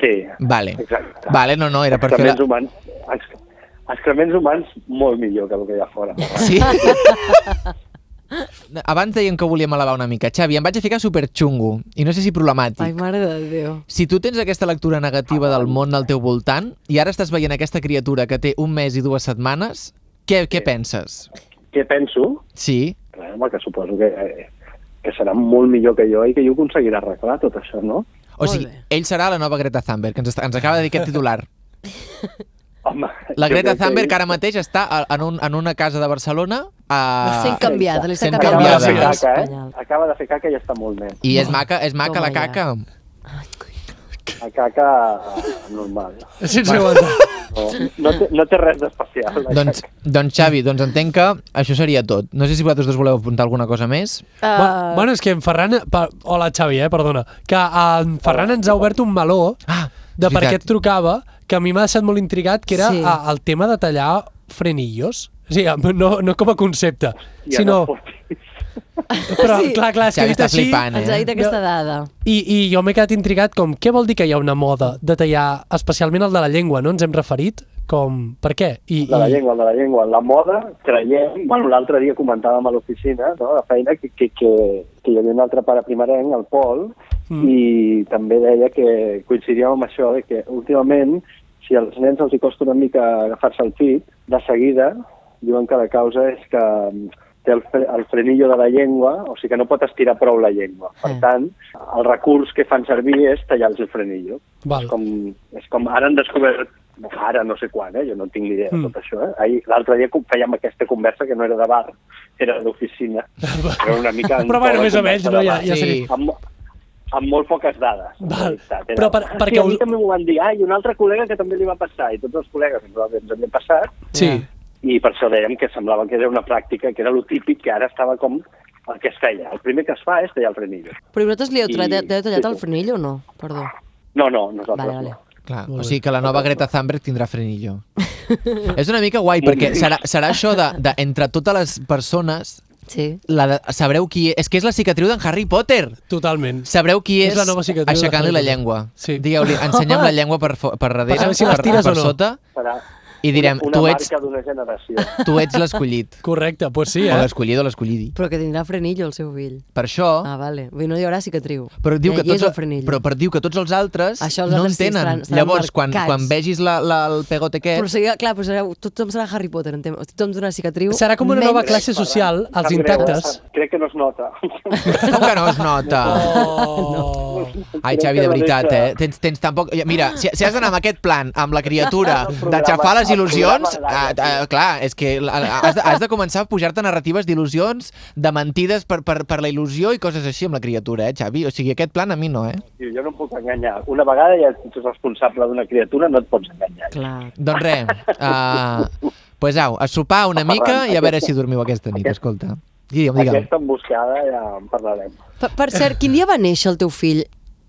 G: Sí,
B: Vale.
G: exacte.
B: Vale, no, no, era per fer...
G: excrements
B: La...
G: humans, ex- excrements humans molt millor que el que hi ha fora.
B: Sí. <laughs> Abans dèiem que volíem elevar una mica. Xavi, em vaig a ficar superxungo i no sé si problemàtic.
A: Ai, mare de Déu.
B: Si tu tens aquesta lectura negativa del món al teu voltant i ara estàs veient aquesta criatura que té un mes i dues setmanes, què, què penses?
G: Què penso?
B: Sí,
G: Res, home, que suposo que, eh, que serà molt millor que jo i que jo ho aconseguiré arreglar tot això, no?
B: o
A: Molt
B: sigui,
A: bé.
B: ell serà la nova Greta Thunberg, que ens, està, ens acaba de dir aquest titular.
G: Home,
B: La
G: jo
B: Greta
G: crec que-
B: Thunberg que ara mateix està a- en, un, en una casa de Barcelona a...
A: Sent canviada, li està
B: Ah, sent
A: canviant
G: Acaba
B: canviada.
G: de fer
A: l'espai
G: caca,
A: espanyol.
G: eh? Acaba de fer caca i està molt net.
B: i és maca, és maca
A: Toma
B: la
A: ja.
B: caca.
G: A caca eh, normal.
C: Sense aguantar.
G: No, no, té, no té res d'especial. la
B: Doncs,
G: caca.
B: doncs Xavi, doncs entenc que això seria tot. No sé si vosaltres dos voleu apuntar alguna cosa més.
C: Uh...
A: Eh,
C: Bueno, és que en Ferran... Pa... Hola, Xavi, eh, perdona. Que en Ferran ens ha obert un meló
B: Ah,
C: de
B: és
C: per què
B: veritat.
C: et trucava, que a mi m'ha deixat molt intrigat, que era
A: Sí.
C: sí. a, el tema de tallar frenillos. O sigui, no, no com a concepte,
G: Ja
C: ja sinó... No
G: no fotis.
C: <laughs> però,
A: Sí.
C: clar, clar, és que
B: Xavi
C: dit
B: està
C: així...
B: flipant, eh?
A: Ens ha dit aquesta
C: No.
A: dada.
C: I, I jo m'he quedat intrigat com què vol dir que hi ha una moda de tallar especialment el de la llengua, no ens hem referit? Com, per què? I,
G: De la
C: i-
G: llengua, de la llengua. La moda, creiem... Bueno, l'altre dia comentàvem a l'oficina, no?, a la feina, que, que, que, que hi havia un altre pare primerenc, el Pol, mm. i també deia que coincidíem amb això, de que últimament, si als nens els hi costa una mica agafar-se el pit, de seguida diuen que la causa és que mm, té el, fre el frenillo de la llengua, o sigui que no pot estirar prou la llengua. Per
C: Mm.
G: tant, el recurs que fan servir és tallar-los el frenillo.
C: Val.
G: És com, és com ara han descobert, ara no sé quan, eh? jo no en tinc ni idea de
C: Mm.
G: tot això. Eh? Ahir, L'altre dia com fèiem aquesta conversa que no era de bar,
C: <laughs>
G: era d'oficina. Era una mica...
C: Però bueno,
G: entorn a
C: més o menys,
G: conversa
C: no?
G: de
C: Ja-
G: bar.
C: ja sé.
B: Sí.
G: Amb, amb molt poques dades. la
C: Val.
G: veritat.
C: Però per-
G: "Ah,
C: perquè
G: sí, a mi
C: us-
G: també m'ho van dir, ah, i un altre col·lega que també li va passar, i tots els col·legues que probablement ens havien passat,
C: Sí.
G: i per això dèiem que semblava que era una pràctica, que era lo típic, que ara estava com el que es feia. El primer que es fa és tallar el frenillo.
A: Però vosaltres li heu
G: I-
A: tallat, heu tallat
G: sí,
A: el
G: sí.
A: frenillo o no? Perdó.
G: No, no, nosaltres
A: Vale, vale.
G: no.
B: Clar,
C: Molt
B: o
C: bé.
B: sigui que la nova Greta Thunberg tindrà frenillo. és una mica guai, perquè serà, serà això de, de entre totes les persones
A: Sí.
B: la de, sabreu qui és. És que és la cicatriu d'en Harry Potter.
C: Totalment.
B: Sabreu qui és,
C: És la nova cicatriu
B: aixecant-li
C: de
B: la
C: Harry Potter.
B: llengua.
C: Sí.
B: Digueu-li, ensenyem la llengua per, fo- per darrere,
C: Per saber si les
B: per,
C: tires
B: per
C: o no.
B: sota,
G: Serà
B: i direm,
G: una, una
B: tu ets,
G: marca d'una generació.
B: tu ets
C: <laughs>
B: l'escollit.
C: Correcte, doncs sí,
B: O
C: eh?
B: l'escollit o l'escollidi.
A: Però que tindrà frenillo el seu fill.
B: Per això...
A: Ah, vale. Vull dir, no hi haurà cicatriu.
B: Oh. Però diu,
A: Ja
B: que
A: hi és
B: tots,
A: el frenillo.
B: però, però diu que tots els altres
A: Això els
B: no
A: altres
B: en
A: sí,
B: tenen.
A: estaran- estaran
B: Llavors, quan,
A: marcats.
B: quan vegis la, la, el pegot aquest...
A: Però seria, clar, però serà, tothom serà Harry Potter, en tema. Tothom tindrà cicatriu.
C: Serà com una
A: menys-
C: nova classe social,
G: Em
C: els
G: sap greu,
C: intactes.
G: eh? Crec que no es nota.
B: Com que no es nota?
C: Oh.
A: <laughs>
B: Ai,
G: Crec
B: Xavi,
G: que
B: de
G: la
B: veritat,
G: deixa-
B: eh? Tens, tens tampoc... Mira, si, si has d'anar amb aquest plan, amb la criatura,
G: <laughs> El programa-
B: d'aixafar les
G: el
B: il·lusions,
G: programa
B: ah,
G: de l'Anna,
B: ah, clar, és que la- has de, has de començar a pujar-te narratives d'il·lusions, de mentides per, per, per la il·lusió i coses així amb la criatura, eh, Xavi? O sigui, aquest plan a mi no, eh?
G: Tio, jo no em puc enganyar. Una vegada ja ets responsable d'una criatura, no et pots enganyar.
A: Clar.
B: Doncs
G: <laughs>
B: res, uh, pues au, a sopar una mica i a veure si dormiu aquesta nit, escolta. Digue'm, digue'm.
G: Aquesta emboscada ja en parlarem.
A: Per, per cert, quin dia va néixer el teu fill?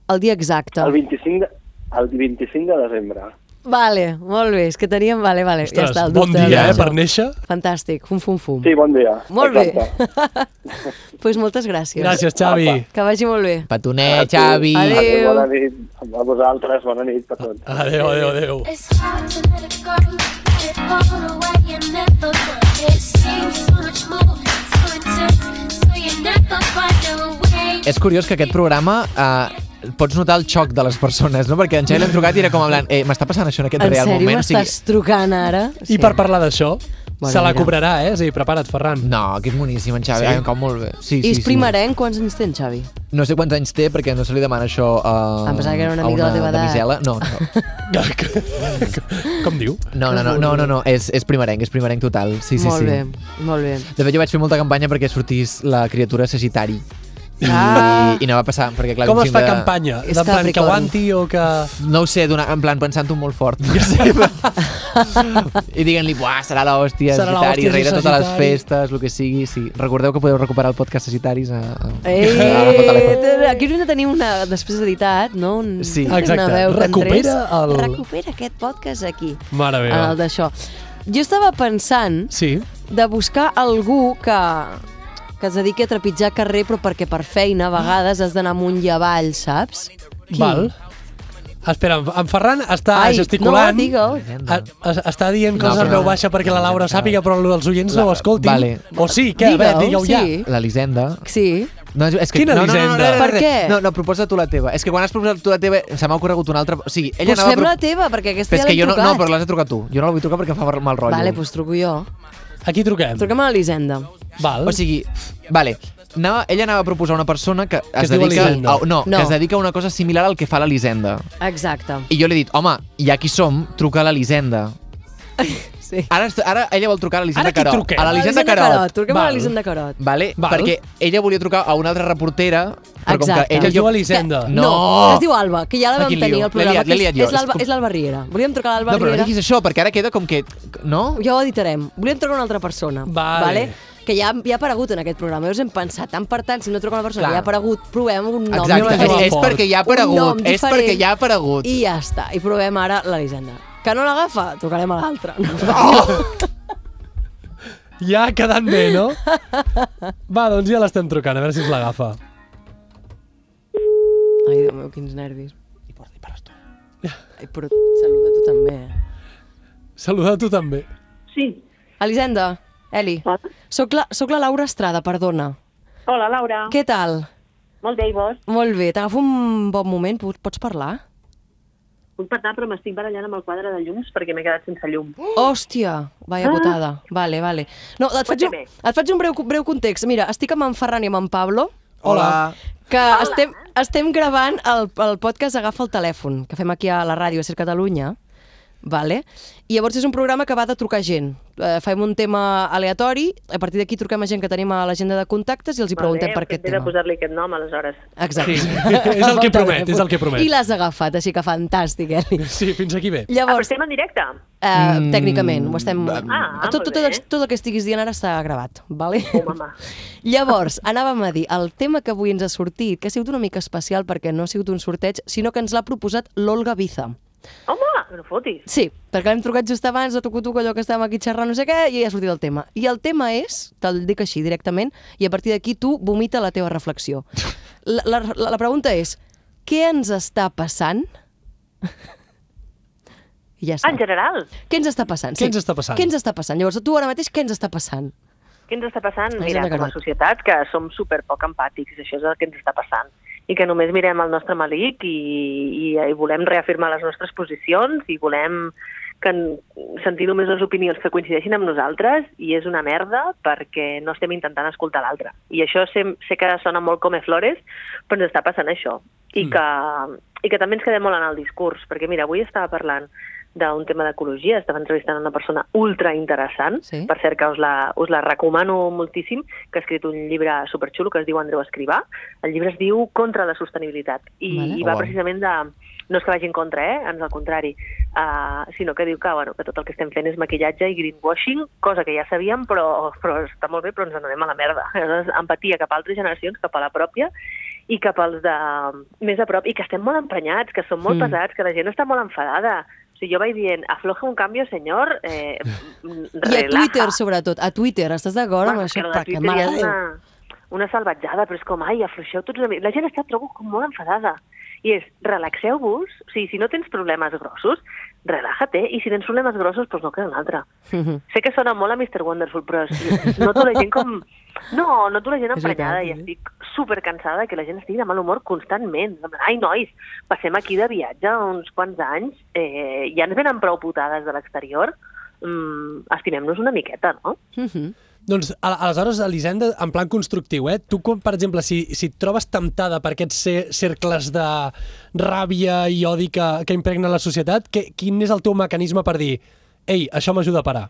A: El dia exacte.
G: El 25 de, el 25 de desembre.
A: Vale, molt bé, és que teníem... Vale, vale, ja
C: Ostres,
A: està. el
C: bon
A: dubte
C: dia,
A: era
C: eh,
A: això.
C: per néixer.
A: Fantàstic, fum, fum, fum.
G: Sí, bon dia.
A: Molt bé.
G: Exacte.
A: Doncs <laughs> pues moltes gràcies.
C: Gràcies, Xavi.
A: Que vagi molt bé.
B: Petonet, Xavi.
A: Adéu.
G: Adéu, Bona nit a vosaltres, bona nit per tots.
C: Adéu, adéu, adéu.
H: It's hard to let it go, let it all away and never run. It seems so much more, so intense, so you never find a way.
B: És curiós que aquest programa eh, pots notar el xoc de les persones, no? Perquè en Xavi l'hem trucat i era com en plan, eh, m'està passant això en aquest
A: En
B: real
A: sèrio
B: moment?
A: m'estàs trucant ara?
C: I per parlar d'això,
A: Bueno,
C: se la
A: mira.
C: cobrarà, eh? És a dir, prepara't, Ferran.
B: No, que és moníssim, en Xavi, sí? em cau molt bé. Sí,
A: I és primerenc, quants anys tens, Xavi?
B: No sé quants anys té perquè no se li demana això a,
A: Em pensava que era un
B: a
A: amic de la teva edat.
B: damisela. No, no.
C: <laughs> Com diu?
B: No, no, no, no, no, no. És, és primerenc, és primerenc total. Sí, sí,
A: molt
B: sí.
A: bé, molt bé.
B: De fet, jo vaig fer molta campanya perquè sortís la criatura Sagitari. I,
A: Ah.
B: I no va passar, perquè clar...
C: Com es
B: 25
C: fa
B: de-
C: campanya?
A: És
C: En plan, que
A: Capricorn.
C: aguanti o que...
B: No ho sé, donar, en plan, pensant-ho molt fort. No sé, però- I diguen-li, buah, serà l'hòstia,
C: Serà la
B: Sagitari,
C: hòstia,
B: rei de
C: sí,
B: totes les
C: Sagitari."
B: festes, el que sigui. Sí. Recordeu que podeu recuperar el podcast Sagitaris a... a...
A: Ei, Eh, aquí hauríem de tenir una, després d'editat, no? Un,
B: Sí.
C: Exacte,
A: Una veu que
C: recupera
A: entrés.
C: el-
A: Recupera aquest podcast aquí,
C: Mare
A: en
C: meva.
A: el d'això. Jo estava pensant
C: Sí.
A: de buscar algú que, que es dediqui a trepitjar carrer, però perquè per feina a vegades has d'anar amunt i avall, saps? Qui?
C: Val. Espera, en- en Ferran està
A: Ai,
C: gesticulant.
A: no, digue'l.
C: A, a, està dient coses en
B: però-
C: veu baixa perquè la Laura sàpiga, però els oients
B: La-
C: no ho escoltin.
B: vale.
C: O sí, què? A veure,
A: Digue'l,
C: digueu ja.
A: sí.
B: L'Elisenda.
A: Sí.
B: No, és- és que,
C: Quina
B: no, no, no, no, no, no,
C: Elisenda?
B: no,
A: Per què?
B: No, no, proposa tu la teva. És que quan has proposat tu la teva, se m'ha ocorregut una altra... O sigui, ella
A: Doncs
B: anava... a
A: fem
B: pro-
A: la teva, perquè aquesta
B: Però
A: ja
B: és que
A: l'hem
B: jo no,
A: trucat.
B: no, però l'has de trucar tu. Jo no la vull trucar perquè em fa mal rotllo.
A: Vale, doncs truco jo.
C: Aquí truquem.
A: Truquem a l'Elisenda.
C: Val.
B: O sigui, vale, anava, ella anava a proposar una persona que, es,
C: es diu
B: dedica,
C: Elisenda.
B: a, no,
A: No.
B: que es dedica a una cosa similar al que fa l'Elisenda.
A: Exacte.
B: I jo li he dit, home, ja qui som, truca a l'Elisenda.
A: Sí.
B: Ara, est- ara ella vol trucar a l'Elisenda
C: Ara qui
B: Carot.
C: truquem?
B: A l'Elisenda Carot.
A: Truquem a
C: Val.
A: l'Elisenda Carot.
B: Vale?
C: Val.
B: Perquè ella volia trucar a una altra reportera, però com
A: Exacte.
B: que ella...
C: Es diu Elisenda.
B: No.
A: que es diu Alba, que ja la vam
B: Aquí
A: tenir
B: lío.
A: al programa.
B: L'he liat,
A: que
B: l'he liat
A: és-
B: jo.
A: És l'Alba,
B: És com-
A: és l'Alba Riera. Volíem trucar a l'Alba
B: No, però no
A: Riera.
B: diguis això, perquè ara queda com que... No?
A: Ja ho editarem. Volíem trucar una altra persona.
C: Vale.
A: Que ja, ja ha aparegut en aquest programa. Llavors hem pensat, tant per tant, si no truca una persona
B: Clar.
A: que ja ha aparegut, provem un nom
B: Exacte,
C: Anem a
B: és,
C: jugar
A: diferent.
B: és
C: fort.
B: perquè ja ha
A: Un nom
B: aparegut, és
A: diferent.
B: perquè ja ha aparegut.
A: I ja està. I provem ara l'Elisenda. Que no l'agafa, trucarem a l'altra.
B: <laughs>
A: No.
B: Oh!
C: Ja ha quedat bé, no? Va, doncs ja l'estem trucant, a veure si ens l'agafa.
A: Ai, Déu meu, quins nervis. I per tu. Ai, però saluda tu també. eh?
C: Saluda a tu també.
I: Sí.
A: Elisenda, Eli, soc la, soc la Laura Estrada, perdona.
I: Hola, Laura.
A: Què tal?
I: Molt bé, i vos?
A: Molt bé, t'agafo un bon moment, Pot- pots parlar?
I: Puc parlar, però m'estic barallant amb el quadre de llums perquè m'he quedat sense llum. Ah!
A: Hòstia, vaya putada. Vale, vale. No, et faig, un,
I: Cuéntame.
A: et faig un breu, breu context. Mira, estic amb en Ferran i amb en Pablo,
B: Hola.
A: que estem, estem gravant el, el podcast Agafa el telèfon, que fem aquí a la ràdio a Ser Catalunya, Vale? I llavors és un programa que va de trucar gent. Eh, fem un tema aleatori, a partir d'aquí truquem a gent que tenim a l'agenda de contactes i els hi preguntem per aquest
G: He de
A: tema.
G: posar-li aquest nom, aleshores.
A: Exacte.
C: Sí. <laughs> És el que promet, és el que promet.
A: I l'has agafat, així que fantàstic, Eli.
C: Sí, fins aquí bé.
G: Ah, però
A: Llavors,
G: estem en directe.
A: eh, tècnicament, ho estem...
G: Ah,
A: tot,
G: molt
A: tot,
G: bé.
A: el, tot el que estiguis dient ara està gravat, vale?
G: Oh, mama.
A: <laughs> Llavors, anàvem a dir, el tema que avui ens ha sortit, que ha sigut una mica especial perquè no ha sigut un sorteig, sinó que ens l'ha proposat l'Olga Biza.
G: Home, no fotis.
A: Sí, perquè l'hem trucat just abans, de tucu-tucu, allò que estàvem aquí xerrant, no sé què, i ja ha sortit el tema. I el tema és, te'l dic així directament, i a partir d'aquí tu vomita la teva reflexió. La, la, la la pregunta és, què ens està passant? I ja està.
G: En general,
A: Què ens està passant?
C: Què ens està passant?
A: Què ens està passant? Llavors, a tu ara mateix, què ens està passant?
G: què ens està passant?
A: Ai,
G: Mira,
A: Gemma
G: com a
A: Garot.
G: societat, que som super poc empàtics, això és el que ens està passant. I que només mirem el nostre malic i, i, i volem reafirmar les nostres posicions i volem que en- sentir només les opinions que coincideixin amb nosaltres i és una merda perquè no estem intentant escoltar l'altre. I això sé, sé que sona molt com a flores, però ens està passant això. I, que, I que també ens quedem molt en el discurs, perquè mira, avui estava parlant d'un tema d'ecologia, estava entrevistant una persona ultra interessant,
A: Sí.
G: per cert que us la, us la recomano moltíssim, que ha escrit un llibre superxulo que es diu Andreu Escrivà, el llibre es diu Contra la sostenibilitat, i,
A: Vale.
G: i va
B: Uau.
G: precisament de... No és que vagin contra, eh? Ans al contrari. Uh, sinó que diu que, bueno, que tot el que estem fent és maquillatge i greenwashing, cosa que ja sabíem, però, però està molt bé, però ens n'anem a la merda. Aleshores, empatia cap a altres generacions, cap a la pròpia, i cap als de més a prop, i que estem molt emprenyats, que som molt
A: Mm.
G: pesats, que la gent està molt enfadada. O sigui, jo vaig dient, afloja un canvi, senyor, eh,
A: I a
G: relaja.
A: Twitter, sobretot. A Twitter, estàs d'acord amb
G: Bueno,
A: això?
G: però de
A: Perquè,
G: Twitter
A: mare
G: ja és
A: Déu.
G: una, una salvatjada, però és com, ai, afluixeu tots una mica. La gent està, trobo, com molt enfadada. I és, relaxeu-vos, o sigui, si no tens problemes grossos, relaja-te, i si tens problemes grossos, doncs no queda un altre.
A: <laughs> Mhm.
G: Sé que sona molt a Mr. Wonderful, però
A: <laughs>
G: és- noto la gent com... No, noto la gent
A: És veritat,
G: emprenyada i
A: eh?
G: estic super cansada que la gent estigui de mal humor constantment. En plan, Ai, nois, passem aquí de viatge uns quants anys, eh, ja ens venen prou putades de l'exterior, mm, estimem-nos una miqueta, no?
A: Mhm.
C: Doncs a- aleshores, Elisenda, en plan constructiu, eh? tu, com, per exemple, si, si et trobes temptada per aquests cer- cercles de ràbia i odi que, que impregna la societat, que, quin és el teu mecanisme per dir ei, això m'ajuda a parar,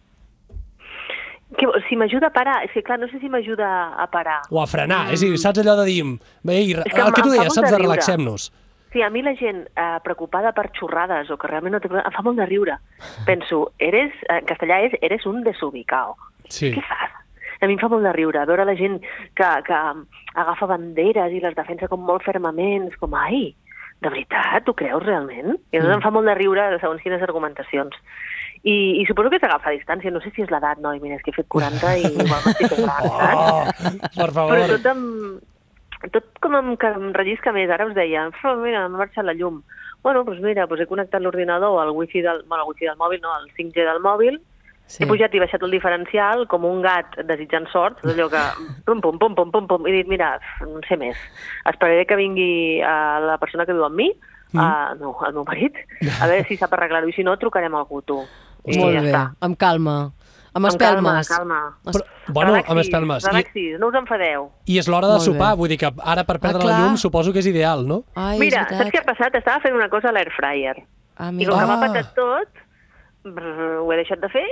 G: Que, si m'ajuda a parar, és que clar, no sé si m'ajuda a parar.
C: o a frenar, és a dir, saps allò de dir ei,
G: Mm. És que
C: el que
G: em
C: tu
G: fa
C: deies,
G: molt
C: saps
G: de
C: de
G: riure.
C: relaxem-nos.
G: Sí, a mi la gent eh, preocupada per xorrades o que realment no té... Em fa molt de riure. Penso, eres, en castellà és, eres un desubicao.
C: Sí.
G: Què fas? A mi em fa molt de riure veure la gent que, que agafa banderes i les defensa com molt fermament, és com, ai, de veritat, ho creus realment? I mm. em fa molt de riure segons quines argumentacions. I, i suposo que s'agafa a distància, no sé si és l'edat, no? I mira, és que he fet 40
A: <laughs>
G: i igual m'estic gran, saps?
C: Oh, per
G: Però
C: favor.
G: tot amb... Tot com em, que em rellisca més. Ara us deia, "Fu, mira, m'ha marxat la llum. Bueno, doncs mira, doncs he connectat l'ordinador al wifi del... Bueno, al wifi del mòbil, no, al 5G del mòbil.
A: Sí.
G: Sí. He pujat i baixat el diferencial com un gat desitjant sort, tot allò que pum, pum, pum, pum, pum, pum, i he dit, mira, f- no en sé més. Esperaré que vingui eh, la persona que viu amb mi, mm. uh, no, el meu marit, a veure si sap arreglar-ho, i si no, trucarem a algú, tu. I
A: Molt
G: ja
A: bé,
G: està.
A: amb calma. Amb
G: Amb calma,
A: espelmes.
G: calma.
C: Però, bueno, amb
G: Relaxis,
C: espelmes. I,
G: Relaxis, no us enfadeu. Ah,
C: I és l'hora de
A: Molt bé.
C: sopar, vull dir que ara per perdre la
A: clar.
C: llum suposo que és ideal, no?
A: Ai,
G: Mira,
A: és
G: saps què
A: veritat.
G: ha passat? Estava fent una cosa a l'air fryer.
A: Ah,
G: I com que
A: mira.
C: Ah.
G: m'ha patat tot, brr, ho he deixat de fer,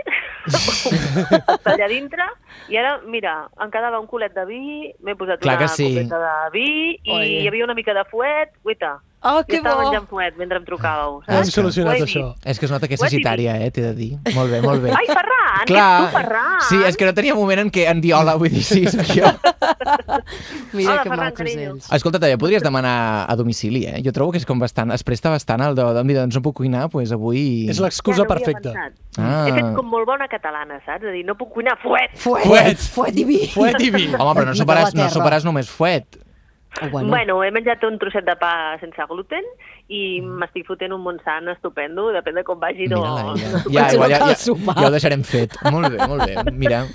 G: allà dintre, i ara, mira, em quedava un culet de vi, m'he posat
B: Clar que
G: una
B: sí.
G: copeta de vi, i
A: Oi.
G: hi havia una mica de fuet, guaita.
A: Oh,
G: jo
A: que
G: estava
A: bo!
G: menjant fuet mentre em
A: Ah.
G: trucàveu. saps?
C: Hem solucionat
G: Ho he dit.
C: això.
B: És que es nota que és
G: Ho has dit?
B: sagitària, eh, t'he de dir. Molt bé, molt bé.
G: Ai, Ferran, que ets tu, Ferran!
B: Sí, és que no tenia moment en què en dir hola, vull dir, sí, soc jo.
A: Mira
G: Hola,
A: que
G: Ferran,
A: macos
G: carinyo.
A: ells.
B: Escolta, també podries demanar a domicili, eh? Jo trobo que és com bastant, es presta bastant el de, de dir, doncs no puc cuinar, doncs avui...
C: És l'excusa
G: no havia
C: perfecta.
G: pensat.
B: Ah.
G: He fet com molt bona catalana, saps? És a dir, no puc cuinar fuet.
A: Fuet,
C: Fuet.
A: fuet i vi.
C: Fuet i vi.
B: Home, però no
A: De la
B: soparàs,
A: terra.
B: no soparàs només fuet.
A: Oh,
G: Bueno. bueno, he menjat un trosset de pa sense gluten i m'estic fotent un Montsant estupendo, depèn de com vagi. doncs.
A: <laughs>
B: Mira-la,
G: No,
B: ella.
G: no.
B: Ja,
A: Potser
B: igual,
A: no
B: ja,
A: cal
B: ja,
A: sopar.
B: ja ho deixarem fet. Molt bé, molt bé. Mira,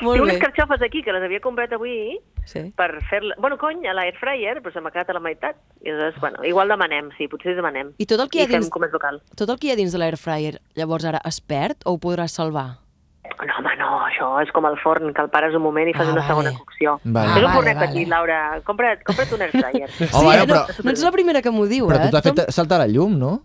A: Molt
G: Tinc unes
A: bé.
G: carxofes aquí, que les havia comprat avui,
A: Sí.
G: per fer-la... Bueno, cony, a l'air fryer, però se m'ha quedat a la meitat. I aleshores, bueno, igual demanem, sí, potser demanem.
A: I tot el que hi ha
G: I fem
A: dins-
G: com és local.
A: Tot el que hi ha dins de l'air fryer, llavors ara es perd o ho podràs salvar?
G: No, home, no, això és com el forn, que el pares un moment i fas
A: Ah,
G: una segona
A: vale.
G: cocció.
B: Vale.
G: Fes
A: Ah,
G: un
A: vale,
G: cornet
A: vale.
G: aquí, Laura. Compra't, compra't un air fryer.
A: <laughs>
B: Oh, bueno,
A: no,
B: però-
A: no ets la primera que m'ho diu,
B: però
A: eh?
B: tu t'has fet saltar la llum, no?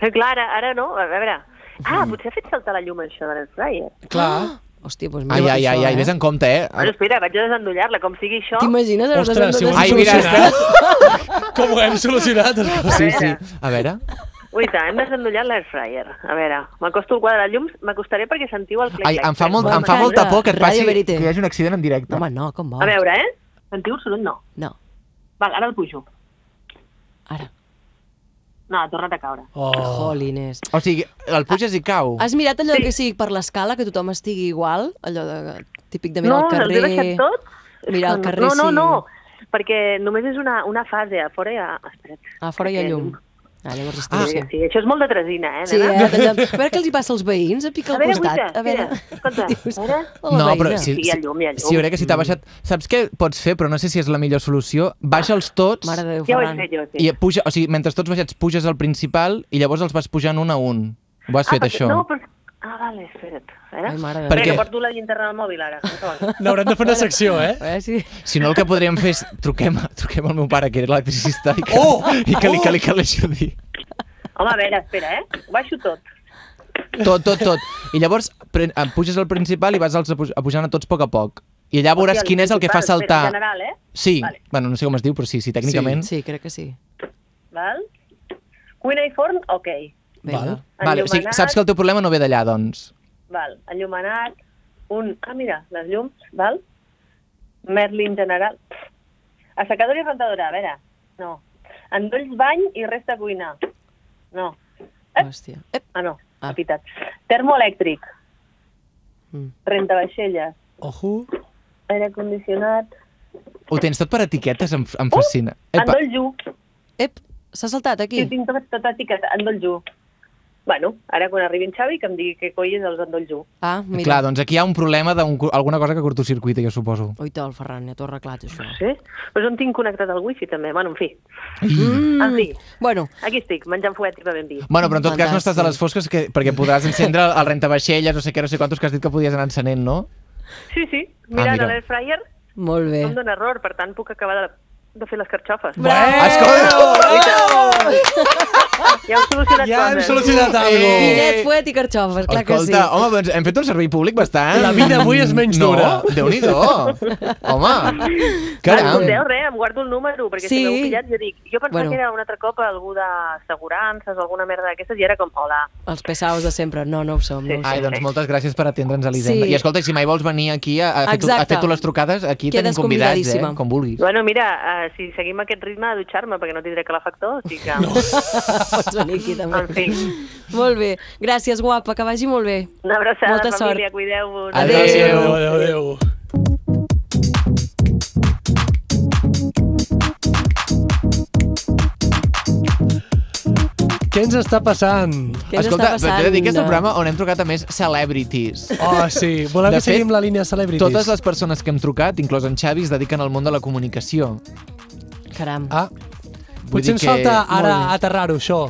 G: Però clar, ara, ara no, a veure...
I: Ah, potser ha fet saltar la llum això de l'Air Fryer.
C: Clar.
A: Hòstia, doncs
B: Ai,
A: mira
B: ai,
A: això,
B: ai, ai,
A: eh?
B: vés en compte, eh?
I: Però espera, Doncs vaig a desendollar-la, com sigui això...
A: T'imagines? ara
C: Ostres, si ho
A: nosaltres-
C: has
B: Ai, mira,
C: solucionat. Com ho hem solucionat?
B: Sí, sí. A veure.
I: Ui, tant, hem desendollat l'Air Fryer. A veure, m'acosto al quadre de llums, m'acostaré perquè sentiu el
B: Ai,
I: clic.
B: em fa, molt, em fa
A: M'encanta.
B: molta por que et passi
A: Ràdio Verité.
B: que hi hagi un accident en directe.
A: Home, no, com vols.
I: A veure, eh? Sentiu el soroll? No.
A: No,
I: Val, ara el pujo.
A: ara.
I: No, ha tornat a caure.
C: Oh.
A: Jolines.
B: O sigui, el puges i cau.
A: Has mirat allò
I: Sí.
A: que sigui per l'escala, que tothom estigui igual? Allò de, típic de mirar
I: No, els
A: al
I: he
A: carrer...
I: deixat tots. És
A: Mirar
I: que
A: al
I: no-
A: carrer,
I: No, no,
A: sí.
I: no, perquè només és una, una fase. A fora hi ha... Espera't.
A: Ah, fora hi ha
I: Perquè-
A: llum. Ah, llavors
I: Sí,
A: estic sí.
I: sí, això és molt de tresina, eh,
A: Sí, eh?
I: nena?
A: Allà, a veure què els hi passa als veïns, a picar
I: A
A: al
I: veure,
A: costat.
I: Guita,
A: a veure,
I: mira, escolta,
A: Dius,
I: a veure.
A: "Hola,
B: no, però
A: veïna".
B: si,
I: Sí, hi ha llum, hi ha llum.
B: si jo crec que si t'ha baixat... Saps què pots fer, però no sé si és la millor solució? Baixa'ls tots
A: Mare de Déu,
I: Ja ho he
A: Ferran.
I: fet jo, eh? sí.
B: i puja, o sigui, mentre tots baixats puges al principal i llavors els vas pujant un a un. Ho has fet,
I: perquè-
B: això?
I: No, però... Ah, vale, espera't. A veure.
A: Ai, mare de
B: Per
I: Espera,
B: què?
I: que porto la llinterna al mòbil, ara. Un segon.
C: N'haurem de fer una secció, eh?
A: A veure si...
B: Si no, el que podríem fer és truquem, truquem al meu pare, que era electricista, i que,
C: Oh!
B: i que, li, que, li, que l'ajudi.
I: Home, a veure, espera, eh? Ho baixo tot.
B: Tot, tot, tot. I llavors pren, em puges al principal i vas als, apu- a pujant a tots a poc a poc. I allà veuràs
I: Hòstia,
B: quin és el que fa
I: principal, espera,
B: saltar.
I: En general, eh?
B: Sí,
I: Vale.
B: bueno, no sé com es diu, però sí, sí, tècnicament.
A: Sí, crec que sí.
I: Val? Cuina i forn, ok.
A: Vinga.
C: Val.
B: Vale, o sigui,
I: Enllumenat.
B: saps que el teu problema no ve d'allà, doncs.
I: Val. Enllumenat, un... Ah, mira, les llums, val? Merlin general. Pff. Assecadora i rentadora, a veure. No. Endolls, bany i resta cuina. No.
A: Hòstia. Ep.
I: Ah, no.
A: Ah.
I: Ah. Pitat. Termoelèctric.
A: Mm.
I: Rentavaixelles.
C: Ojo.
I: Aire condicionat.
B: Ho tens tot per etiquetes, em, em fascina.
I: Uh!
B: Epa,
I: Endoll ju.
A: Ep, s'ha saltat
I: Sí.
A: aquí.
I: Jo tinc tot, tot etiqueta. Endoll ju. Bueno, ara quan arribi en Xavi que em digui què coi és els endoll ju.
A: Ah, mira.
B: clar, doncs aquí hi ha un problema d'alguna cosa que cortocircuita, jo suposo.
A: Oita, el Ferran, ja t'ho ha arreglat, això.
I: Ah, Sí? Però on tinc connectat el wifi també. Bueno, en fi.
A: Mm.
I: En fi.
A: Bueno,
I: Aquí estic, menjant fuet i bevent vi.
B: Bueno, però en tot cas no estàs de les
A: Fantàstic.
B: fosques que, perquè podràs encendre el rentavaixelles, no sé què, no sé quantos que has dit que podies anar encenent, no?
I: Sí, sí. Mirant ah,
B: mira.
I: mira. l'air fryer,
A: molt bé.
I: no em dóna error, per tant puc acabar de, de fer les carxofes.
A: Bravo!
B: Escolta!
I: Ja heu solucionat
C: Ja hem
I: coses.
C: solucionat alguna
B: Eh.
A: Pinet, fuet i carxofes, clar que sí.
B: Escolta, home, doncs hem fet un servei públic bastant...
C: La vida avui és menys
B: no,
C: dura.
B: Déu-n'hi-do! Home! Caram!
I: Escolteu, Ah, res, em guardo el número, perquè
A: Sí.
I: si l'heu pillat, jo dic... Jo pensava
A: Bueno.
I: bueno. que era un altre cop algú d'assegurances o alguna merda d'aquestes, i era com, hola,
A: Els pesaos de sempre. No, no ho som, no ho
B: Ai,
A: som.
B: doncs moltes gràcies per atendre'ns a l'Hisenda.
A: Sí.
B: I escolta, si mai vols venir aquí a, a fer, tu, a
A: Exacte.
B: fer tu les trucades, aquí
A: Quedes
B: tenim convidats, eh?
A: convidadíssima.
B: Com vulguis.
I: Bueno, mira, uh, si seguim aquest ritme de dutxar-me, perquè no tindré calefactor, així que... No.
A: Pots venir aquí, també.
I: En fi.
A: Molt bé. Gràcies, guapa, que vagi molt bé.
I: Una abraçada,
A: Molta sort.
I: família, cuideu-vos.
B: Adéu.
C: Adéu, adéu, adéu. Què ens està passant?
A: Què ens
B: Escolta,
A: està passant?
B: t'he de dir que és el programa on hem trucat a més celebrities.
C: Oh, sí. Voleu
B: De
C: que seguim
B: fet,
C: la línia Celebrities?
B: Totes les persones que hem trucat, inclòs en Xavi, es dediquen al món de la comunicació.
A: Caram.
C: Ah,
B: Vull
C: potser
B: dir
C: ens
B: que-
C: falta ara
A: Molt bé.
C: aterrar-ho, això.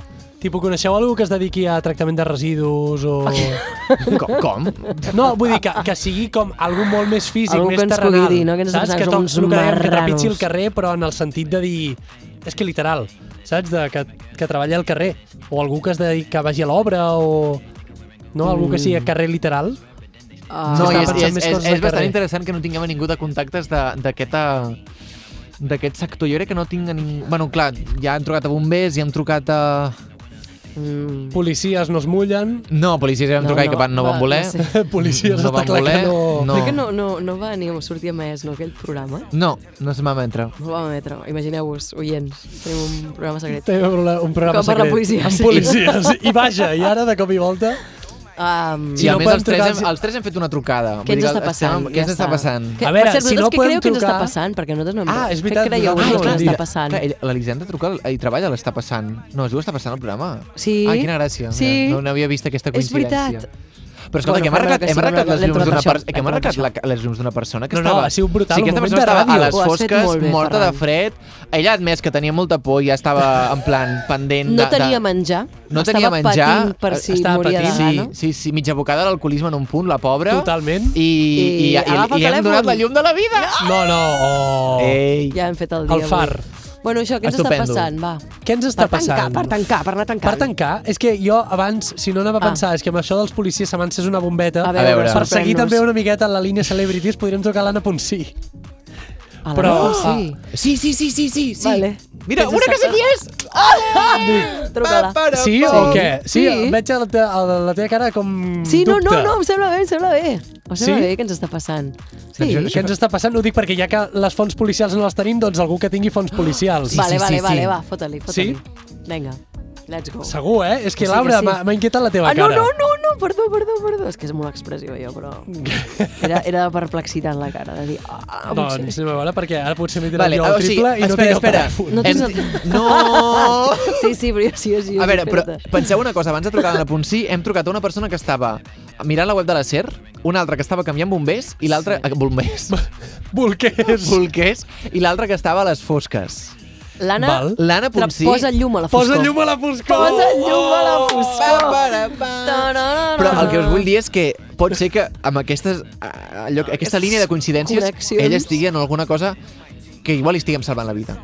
C: Tipo, coneixeu algú que es dediqui a tractament de residus o...
B: Com? com?
C: No, vull dir que, que sigui com algú molt més físic,
A: Algú
C: més
A: que ens
C: terrenal.
A: pugui dir, no? Que ens
C: saps?
A: posem
C: Que toc,
A: uns
C: el que dèiem, que trepitgi
A: marranos.
C: el carrer, però en el sentit de dir... És que literal, saps? De, que, que treballa al carrer. O algú que es dediqui, que vagi a l'obra o... No, algú que
A: Mm.
C: sigui a carrer literal.
A: Ah,
B: No,
C: S'està
B: i és,
C: pensant
B: és,
C: més
B: és,
C: coses al
B: és bastant
C: carrer.
B: interessant que no tinguem a ningú de contactes de- d'aquest eh, d'aquest sector. Jo crec que no tinc a ningú... Bueno, clar, ja han trucat a bombers, ja han trucat a...
A: Mm.
C: Policies no es mullen. <laughs>
B: No, policies ja van
A: No,
B: trucar i
A: no,
B: que van, no
A: Ah, va,
B: van voler.
A: no sé.
C: Policies,
B: No
C: està
B: van
C: clar
B: voler.
C: que no...
A: Crec que no, no, no va ni sortir més, no, aquell programa.
B: No, no se m'emetre.
A: No ho vam emetre. Imagineu-vos, oients, tenim un programa secret.
C: Tenim un un programa
A: Com per la
C: secret.
A: policia,
C: Amb
A: sí.
C: policies. I vaja, i ara de cop i volta...
A: Um,
B: Sí,
C: no
B: a més,
C: podem
B: els tres,
C: trucar,
B: hem,
C: si-
B: els tres hem fet una trucada.
A: Què
B: Vull
A: ens
B: dir que
A: està
B: estem-
A: passant?
B: Què ens està passant?
A: Que,
C: A veure,
A: per cert,
C: si
A: vosaltres
C: no
A: què
C: podem
A: creieu que ens està
C: trucar-
A: passant? Perquè nosaltres no hem...
C: Ah, és
A: Què
C: veritat,
A: creieu
C: nosaltres
A: vosaltres
C: no ho
A: que
C: hem
A: ens està
C: dit.
A: passant?
B: Clar, eh, ell- L'Elisenda truca i treballa, l'està passant. No, es diu està passant el programa.
A: Sí.
B: Ah, quina gràcia.
A: Sí.
B: Mira, No, no havia vist aquesta
A: És
B: coincidència.
A: veritat.
B: Però escolta,
A: Bueno,
B: que hem
A: perdó,
B: arreglat,
A: que sí,
B: hem arreglat
A: l'hem
B: les llums
A: trobat
B: d'una
A: això,
B: per... que hem
A: l'hem
B: arreglat
A: trobat
B: la, les llums d'una persona que
C: No, no,
B: estava...
C: ha sigut brutal,
B: Sí,
C: un
B: aquesta
C: moment
B: persona
C: de
B: estava a
C: ràdio.
B: les
A: Ho has fet
B: fosques,
A: molt bé,
B: morta
A: Ferran.
B: de fred. Ella ha admès que tenia molta por i ja estava en plan pendent
A: No
B: de,
A: tenia
B: de...
A: menjar.
B: No
A: Estava
B: tenia menjar. eh,
A: patint per si
B: estava
A: moria de
B: patint,
A: gana.
B: Sí, sí, sí, mitja bocada d'alcoholisme en un punt, la pobra.
C: Totalment.
B: I, i, i,
A: I agafa el
B: i, hem
A: telèfon.
B: donat la llum de la vida.
C: No, no, oh...
B: Ei.
A: Ja hem fet el dia
C: El far.
A: Avui. Bueno, això, què ens
C: Estupendo.
A: està passant? Va.
C: Què ens està
A: per tancar,
C: passant?
A: Per tancar, per anar
C: Per
A: tancant.
C: tancar, és que jo abans, si no anava a
A: Ah.
C: pensar, és que amb això dels policies se m'encés una bombeta.
A: A veure, A veure.
C: Per seguir
A: sorprèn-nos.
C: també una miqueta en la línia Celebrities, podríem tocar l'Anna Ponsí.
A: A la
C: Però, Ah.
A: Ponsí.
B: Sí, sí, sí, sí, sí. sí.
A: Vale.
B: Mira,
A: Què
B: una que
A: s'està-
B: sé qui és! Ole!
A: Ah! Truca-la.
B: Pa, para,
C: Sí,
B: pa.
C: o què? Sí,
A: Sí.
C: veig a la, te, a la teva cara com
A: Sí, no,
C: dubte.
A: no, no, em sembla bé, em sembla bé. Em sembla
C: Sí?
A: bé què ens està passant. Sí.
C: Què ens està passant? Ho dic perquè ja que les fonts policials no les tenim, doncs algú que tingui fonts policials.
A: vale, vale, vale, va, fota-li, fota-li.
C: Sí?
A: Vinga, let's go.
C: Segur, eh? És que,
A: Sí que
C: Laura,
A: sí.
C: m'ha- m'ha inquietat la teva
A: Ah, no,
C: cara.
A: no, no, no, perdó, perdó, perdó. És que és molt expressiva jo, però...
C: <laughs>
A: Era, era de perplexitat la cara, de dir... Ah, ah,
C: Doncs anem a veure, perquè ara potser m'he tirat
B: Vale,
C: jo
B: o
C: al
B: sigui,
C: triple i no
B: espera,
C: tinc el <laughs>
B: espera.
C: telèfon.
A: No tens el-
B: Hem-
A: <laughs>
B: No!
A: Ah, Sí, sí, però jo sí, jo sí. jo
B: A
A: sí,
B: veure, però
A: espera't.
B: penseu una cosa, abans de trucar a la Ponsí hem trucat a una persona que estava mirant la web de la SER, una altra que estava canviant bombers i l'altra... eh, Bombers?
C: Bolquers.
B: Bolquers. I l'altra que estava a les fosques.
A: L'Anna...
C: Val.
B: L'Anna
A: Tra-
B: Ponsí...
A: Posa llum a la foscor.
C: Posa llum a la foscor.
A: Posa llum a la foscor.
B: Pa, para, pa.
A: Ta-ra-ra-ra.
B: Però el que us vull dir és que pot ser que amb aquestes, eh, allò, aquesta línia de coincidències
A: Connexions.
B: ella estigui en alguna cosa que igual li estiguem salvant la vida.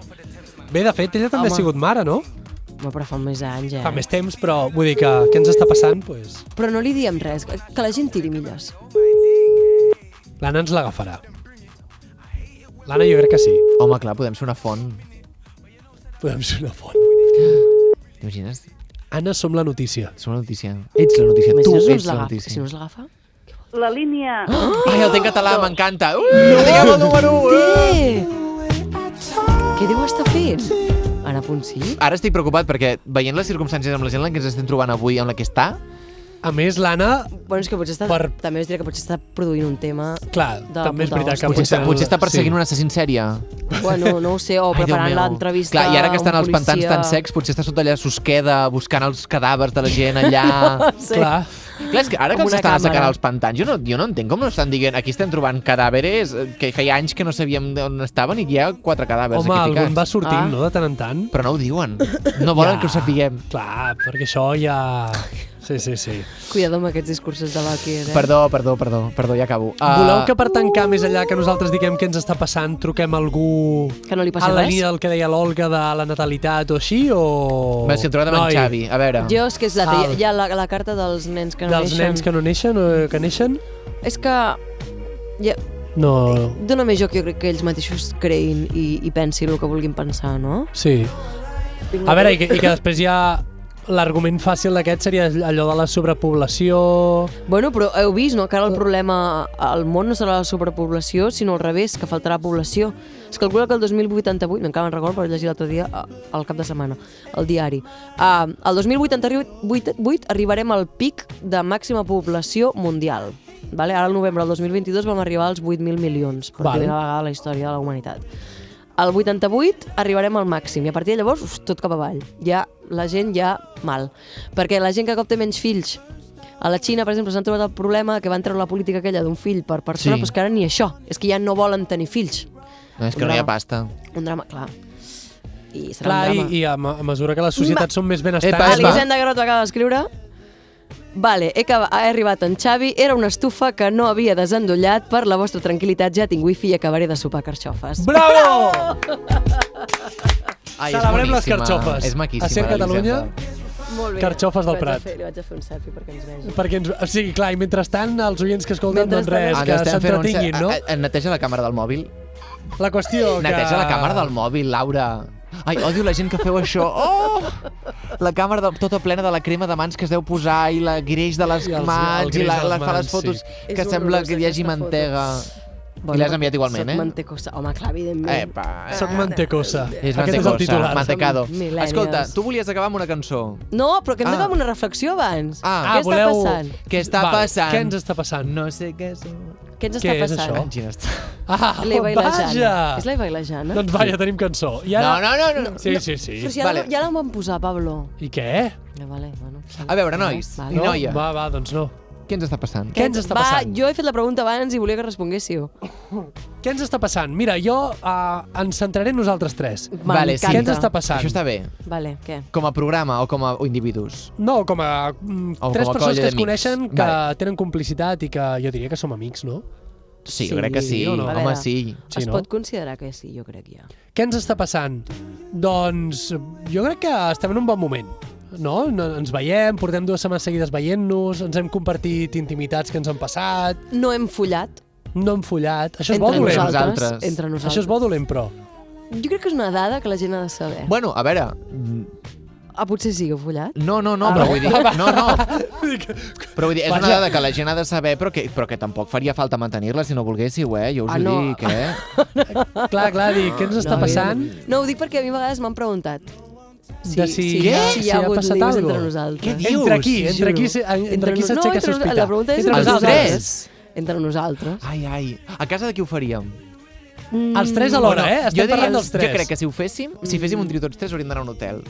C: Bé, de fet, ella també
A: Home.
C: ha sigut mare, no?
A: No, però fa més anys, eh?
C: Fa més temps, però vull dir que què ens està passant? Pues,
A: Però no li diem res, que la gent tiri milles.
C: L'Anna ens l'agafarà. L'Anna jo crec que sí.
B: Home, clar, podem ser una font.
C: Podem ser una font.
B: T'imagines?
C: Anna, som la notícia.
B: Som la notícia. Ets la notícia. Tu
A: Imagina't si no
B: ets
A: ens
B: la
A: l'agafa.
B: notícia. Ah!
A: Si no ens l'agafa...
I: La línia...
B: Ai, el té en català, m'encanta. Ui, diguem el número 1.
A: Té! Què diu està fent? Ara Ponsí?
B: Ara estic preocupat perquè veient les circumstàncies amb la gent en la que ens estem trobant avui, amb la que està,
C: A més, l'Anna,
A: Bueno, és que potser està...
C: Per-
A: També us diré que potser està produint un tema...
C: clar,
A: De
C: també és
A: puta
C: veritat que
A: hòstia.
B: potser, està, potser està perseguint
C: sí.
B: un assassí en sèrie.
A: Bueno, no ho sé, o
B: Ai, Déu
A: preparant
B: meu.
A: l'entrevista...
B: Clar, i ara que
A: a un
B: estan els pantans
A: policia.
B: tan
A: <laughs>
B: secs, potser està sota allà susqueda, buscant els cadàvers de la
A: <laughs>
B: gent allà.
A: Sí.
C: Clar,
B: Clar, és que ara
A: Amb
B: que els
A: una
B: estan
A: càmera.
B: assecant els pantans, jo no, jo no entenc com no estan dient aquí estem trobant cadàveres eh, que feia anys que no sabíem d'on estaven i hi ha quatre cadàvers
C: home,
B: aquí
C: algun
B: ficats.
C: va
A: Ah.
C: sortint, no?, de tant en tant.
B: Però no ho diuen. No volen
C: Ja.
B: que ho sapiguem.
C: Clar, perquè això ja... Sí, sí, sí.
A: Cuidado amb aquests discursos de l'Oki, eh?
B: Perdó, perdó, perdó, perdó, ja acabo. Uh,
C: Voleu que per tancar més enllà que nosaltres diguem què ens està passant, truquem algú
A: Que no li
C: a
A: passi
C: la
A: res?
C: línia del que deia l'Olga de la natalitat o així, o...
B: Bé, si em trobat amb en
C: Noi,
B: Xavi, a veure.
A: Jo és que és la,
C: Al.
A: hi ha la, la carta dels nens que no
C: dels
A: neixen.
C: nens que no neixen, o que neixen?
A: És que ja,
C: No,
A: dóna més joc, jo crec que ells mateixos creïn i, i pensin el que vulguin pensar, no?
C: sí. A veure, i que, i que després hi ha... L'argument fàcil d'aquest seria allò de la sobrepoblació...
A: Bueno, però heu vist, no?, que ara el problema al món no serà la sobrepoblació, sinó al revés, que faltarà població. Es calcula que el 2088, encara me'n record, però llegir l'altre dia a- al cap de setmana, al diari, uh, el 2088 arribarem al pic de màxima població mundial. Vale? Ara, al novembre del 2022, vam arribar als 8.000 milions, per
C: Val.
A: primera vegada a la història de la humanitat. Al 88 arribarem al màxim i a partir de llavors uf, tot cap avall. Ja, la gent ja mal. Perquè la gent que cop té menys fills a la Xina, per exemple, s'han trobat el problema que van treure la política aquella d'un fill per persona, sí.
B: Sí.
A: però és que ara ni això. És que ja no volen tenir fills.
B: No, és que no hi ha
A: Bravo.
B: pasta.
A: Un drama, clar. I serà
C: Clar,
A: un
C: i,
A: drama. Ah,
C: i a, ma- a mesura que les societats són més
B: Epa,
C: benestants...
B: epa.
C: va.
A: Elisenda Garota acaba d'escriure... Vale, he, acab- he arribat en Xavi, era una estufa que no havia desendollat, per la vostra tranquil·litat ja tinc wifi i acabaré de sopar carxofes.
C: Bravo!
B: Ai, és
C: Celebrem les
B: boníssima.
C: carxofes.
B: És maquíssima.
C: A Ser Catalunya.
B: l'Elisenda.
A: Molt bé.
C: Carxofes del
A: Li vaig a
C: Prat.
A: fer- Li vaig a fer un selfie perquè ens vegi.
C: Perquè ens... O sigui, clar, i mentrestant els oients que escolten doncs
A: Mentrestant,
C: res,
B: Ah,
C: que
B: estem fent un-
C: s'entretinguin, no?
B: a- a- Neteja la càmera del mòbil.
C: La qüestió que...
B: Neteja la càmera del mòbil, Laura. Ai, odio la gent que feu
C: <laughs>
B: això. Oh! La càmera de, tota plena de la crema de mans que es deu posar i la greix de les
C: I els- el
B: mans i
C: greix
B: la,
C: de les
B: la, fa les
C: mans,
B: fotos
A: sí.
B: que
A: És
B: sembla
A: horrorosa
B: que hi hagi
A: aquesta foto.
B: mantega. I l'has enviat igualment,
A: soc
B: eh?
A: Mantecosa. Home, clar, evidentment.
B: Epa.
C: Soc mantecosa.
B: És
C: Aquest és el
B: mantecosa,
C: titular.
B: mantecado.
A: Som millennials.
B: Escolta, tu volies acabar amb una cançó.
A: No, però que hem
B: Ah.
A: d'acabar amb una reflexió abans.
B: Ah.
A: Què
C: Ah, voleu...
A: està passant?
B: Què està
C: Val,
B: passant?
C: Què ens està passant?
B: No sé què són.
A: Què ens està
C: Què és
A: passant?
C: això?
B: Gina està...
C: Ah,
A: L'Eva i la Jana.
C: vaja!
A: És l'Eva i la Jana?
C: Doncs vaja, tenim cançó. I
B: No,
C: ara...
B: no, no, no.
C: Sí, sí, sí.
A: Però si ja,
B: vale.
A: vale. ja la van posar, Pablo.
C: I què?
A: Ja, vale, bueno.
B: A veure, nois,
A: Vale.
B: I
C: No?
B: noia.
C: Va, va, doncs no.
B: Què ens està passant?
C: Què ens està
A: va,
C: passant?
A: Jo he fet la pregunta abans i volia que responguéssiu.
C: Què ens està passant? Mira, jo uh, ens centraré en nosaltres tres.
B: Vale, sí.
A: M'encanta.
C: Què ens està passant?
B: Això està bé.
A: Vale, què?
B: Com a programa o com a o individus?
C: No, com a mm,
B: O
C: tres
B: com a colla
C: persones que es
B: d'amics.
C: coneixen, que
B: Vale.
C: tenen complicitat i que jo diria que som amics, no?
B: Sí, jo crec que sí.
C: o no?
B: Home, sí.
C: Sí,
A: es
C: no?
A: pot considerar que sí, jo crec ja.
C: Què ens està passant? Doncs jo crec que estem en un bon moment. No? No- Ens veiem, portem dues setmanes seguides veient-nos, ens hem compartit intimitats que ens han passat,
A: No hem follat
C: no hem follat... Això és bo
A: entre,
C: dolent.
A: nosaltres,
B: Nosaltres.
A: entre nosaltres.
C: Això és bo dolent, però.
A: Jo crec que és una dada que la gent ha de saber.
B: Bueno, a veure... mm,
A: Ah, potser sí que heu follat.
B: No, no, no, però vull dir... No,
C: <laughs>
B: no. Però vull dir, és una
C: Ah. Vaja.
B: dada que la gent ha de saber, però que, però que tampoc faria falta mantenir-la si no volguéssiu, eh? Jo us
A: Ah,
B: ho
A: no.
B: dic, eh?
C: Clar, clar, dic, què ens està
A: no,
C: passant?
A: No, ho dic perquè a mi a vegades m'han preguntat. Si,
C: De si-
A: si,
C: Què?
A: si
C: Si
A: hi ha
C: ha
A: hagut
C: passat
A: líos
C: algo?
A: entre nosaltres.
B: Què dius?
C: Entre qui? Entre
B: Juro.
C: qui, se- en- entre qui
A: nos- no,
C: s'aixeca
A: entre nos-
C: sospita?
A: La pregunta és
C: Entre
A: entre
B: Els
A: nosaltres.
B: tres?
A: Entre nosaltres.
B: Ai, ai. A casa de qui ho faríem?
C: Els tres alhora, eh? Estem
B: jo
C: parlant dels tres.
B: Jo crec que si ho féssim, si féssim un trio tots tres, hauríem d'anar a un hotel.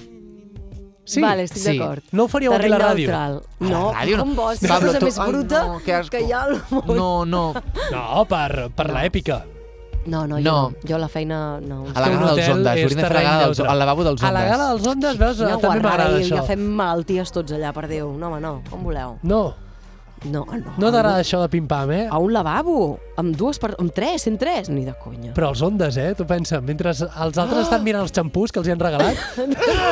C: Sí.
A: Vale, estic
B: sí.
A: d'acord.
C: No ho faríeu aquí a la
A: Terreny
C: ràdio.
A: neutral.
B: la
A: No,
B: ràdio no.
A: com vols? És la
B: Pablo,
A: cosa
B: tu-
A: més
B: ai,
A: bruta
B: no, que asco.
A: que hi ha al món.
B: No, no.
C: No, per, per l'èpica.
A: No, no, jo,
B: No.
A: no. jo a la feina no.
B: A la gala
C: Un
B: dels
C: hotel
B: ondes.
C: és
B: Hauríem de fer la
C: terreny
B: gala dels,
C: neutre.
B: al lavabo dels ondes.
C: A la gala dels ondes, veus,
A: Quina
C: també m'agrada
A: guarrada, i
C: això.
A: ja fem malalties tots allà per Déu. No, home, no, com voleu?
C: No,
A: No, no.
C: no t'agrada això de pim-pam, eh?
A: A un lavabo, amb dues per... amb tres, en tres, ni de conya.
C: Però els ondes, eh? Tu pensa, mentre els altres
A: Ah.
C: estan mirant els xampús que els hi han
A: <laughs>
C: regalat,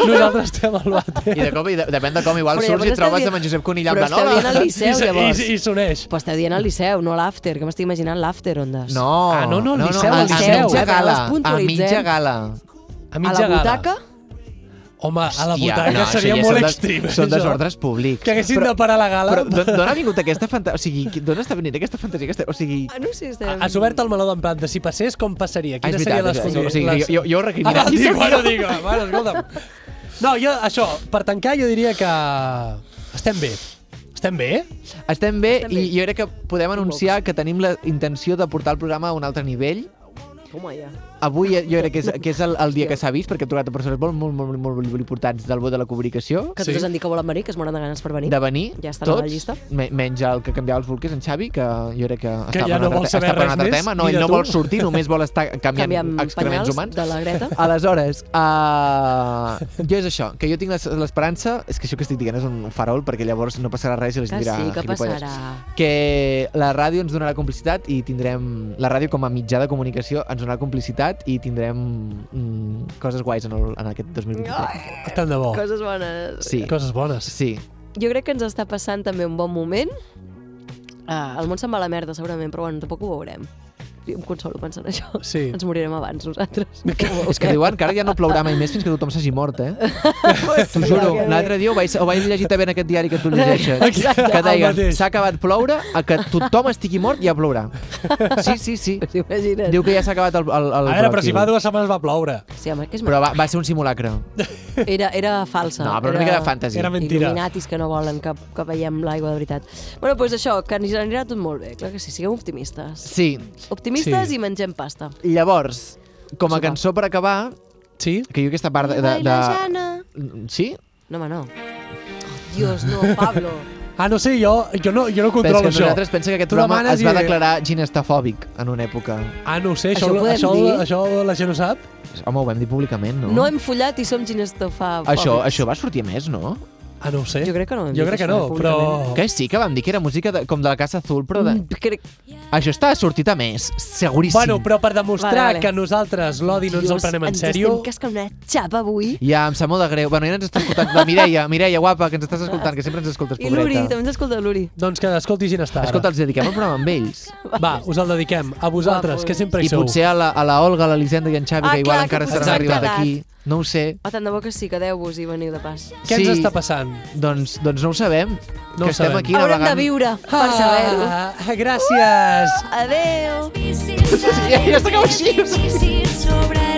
C: nosaltres estem al
B: I
C: vàter.
B: de cop, i de, depèn de com, igual
A: Però
B: surts
A: llavors
B: i et trobes
A: estàs
B: amb en Josep Conill en
A: Però
B: plan,
A: esteu dient el
B: hola!
C: I,
A: Liceu,
C: se- i,
A: llavors.
C: se- i s'uneix.
A: Però esteu dient el Liceu, no l'after, que m'estic imaginant l'after, ondes.
B: No,
C: Ah, no, no, el Liceu,
B: a,
C: el
B: a
C: Liceu.
B: mitja gala,
A: Les
B: a mitja
A: puntualitzem.
B: gala.
C: A
A: A
C: mitja
A: la
C: gala.
A: butaca?
C: Home, a la
B: Hòstia,
C: butaca
B: no, això ja
C: seria molt
B: són des-
C: extrem.
B: Són
C: això.
B: desordres públics.
C: Que haguessin de parar la gala.
B: Però d'on d'on ha vingut aquesta fantasia? O sigui, qui- d'on està venint aquesta fantasia? Aquesta... O sigui...
A: Ah, no sé, estem...
C: Has obert el meló d'en plan de si passés, com passaria?
B: Ah, és
C: Quines serien les
B: veritat, és veritat.
C: condicions?
B: O sigui,
C: les-
B: jo- jo- jo ho recriminaré.
C: Ah, dic, bueno, dic, bueno, escolta'm. No, jo, això, per tancar, jo diria que estem bé. Estem bé?
B: Estem bé,
A: Estem
B: i
A: bé.
B: jo crec que podem anunciar que tenim la intenció de portar el programa a un altre nivell.
A: Home, ja.
B: Avui eh, jo crec que és, que és el, el dia que s'ha vist, perquè hem trobat a persones molt, molt, molt, molt, molt importants del vot de la comunicació,
A: Que
C: Sí.
A: tots han dit que volen venir, que es moren de ganes per venir.
B: de venir,
A: Ja estan a la
B: tots,
A: llista.
B: me- menys el que canviava els bolquers, en Xavi, que jo crec que,
C: Que
B: està
C: ja
B: per un
C: no
B: altre
C: vol
B: te-
C: saber
B: està per un
C: res
B: altre
C: més,
B: tema, no,
C: ni
B: ell
C: de
B: no
C: tu.
B: vol sortir, només vol estar canviant,
A: Canviem
B: excrements
A: penyals
B: humans.
A: de la
B: <laughs>
A: Greta.
B: Aleshores, uh, jo és això, que jo tinc l'es- l'esperança, és que això que estic dient és un farol, perquè llavors no passarà res i la gent
A: Que
B: dirà...
A: sí, que
B: "Gilipolles".
A: passarà.
B: que la ràdio ens donarà complicitat i tindrem... La ràdio com a mitjà de comunicació ens donarà complicitat i tindrem mm, coses guais en, el, en aquest 2023.
C: Tant de bo.
A: Coses bones.
B: Sí,
C: Coses bones.
B: sí.
A: Jo crec que ens està passant també un bon moment. Ah, el món se'n va a la merda, segurament, però bueno, tampoc ho veurem. Jo em consolo pensant això.
C: Sí.
A: Ens morirem abans, nosaltres.
B: És <laughs> que diuen que ara ja no plourà mai més fins que tothom s'hagi mort, eh? T'ho juro, l'altre dia ho vaig, ho vaig llegir també en aquest diari que tu llegeixes,
C: Exacte,
B: que
C: el
B: deien,
C: mateix.
B: s'ha acabat ploure, a que tothom estigui mort ja plourà. Sí, sí, sí.
A: Imagina't.
B: Diu que ja s'ha acabat el, el, el
C: A veure, però si
B: rotllo.
C: fa dues setmanes va ploure.
A: Sí, home, que és...
B: Però va, va ser un simulacre.
A: Era, era falsa.
B: No, però
A: era...
B: una mica de fantasy.
C: Era mentira.
A: Il·luminatis que no volen que, que veiem l'aigua de veritat. bueno, doncs això, que ens anirà tot molt bé. Clar que sí, sigueu optimistes.
B: Sí.
A: Optimistes
C: Sí.
A: i mengem pasta.
B: Llavors, com a
A: Sopar.
B: cançó per acabar,
C: Sí?
B: que jo aquesta part de... de, de... Sí?
A: No, home, no. Oh, Dios, no, Pablo.
C: Ah, no sé, jo, jo, no, jo no
B: Pensa
C: controlo
B: que
C: això.
B: nosaltres pensa que aquest
C: Tu
B: programa
C: demanes
B: es va
C: i-
B: declarar ginestafòbic en una època.
C: Ah, no ho sé,
A: Això
C: això,
A: ho podem
C: això,
A: dir?
C: això, la gent ho sap?
B: Home, ho vam dir públicament, no?
A: No hem follat i som ginestofàbics.
B: Això, això va sortir a més, no?
C: Ah, no ho sé.
A: Jo crec que no ho hem
C: Jo
A: dit,
C: crec que
A: això,
C: no, però...
A: públicament.
B: Que sí, que vam dir que era música de, com de la Casa Azul, però... De...
A: Mm, Crec...
B: Això està sortit a més, seguríssim.
C: Bueno, però per demostrar
A: Vale, vale.
C: que nosaltres l'odi no ens el
A: Dios,
C: prenem en
A: ens
C: sèrio...
A: estem cascant una xapa avui.
B: Ja, em sap molt de greu. Bueno, ja ens està escoltant. La Mireia, Mireia, guapa, que ens estàs escoltant, que sempre ens escoltes,
A: I l'Uri,
B: pobreta.
A: també ens escolta l'Uri.
C: Doncs que escolti gent estar.
B: Escolta, els dediquem el programa amb ells.
C: Va, us el dediquem a vosaltres,
A: Guapos.
C: que sempre hi
B: I
C: sou.
B: potser a la, a la Olga, a l'Elisenda i en Xavi,
A: Ah,
B: que igual
A: clar, que
B: encara
A: potser
B: seran
A: s'han
B: arribat
A: quedat.
B: aquí. No ho sé.
A: A Ah, tant de bo que sí, quedeu-vos i veniu de pas.
C: Què
B: Sí.
C: ens està passant?
B: Doncs, doncs no ho sabem.
C: No ho
B: que estem
C: sabem.
B: aquí
A: Haurem de
B: navegant.
A: viure per saber-ho.
C: Ah, gràcies!
A: Adeu!
H: Ja, ja s'acaba així.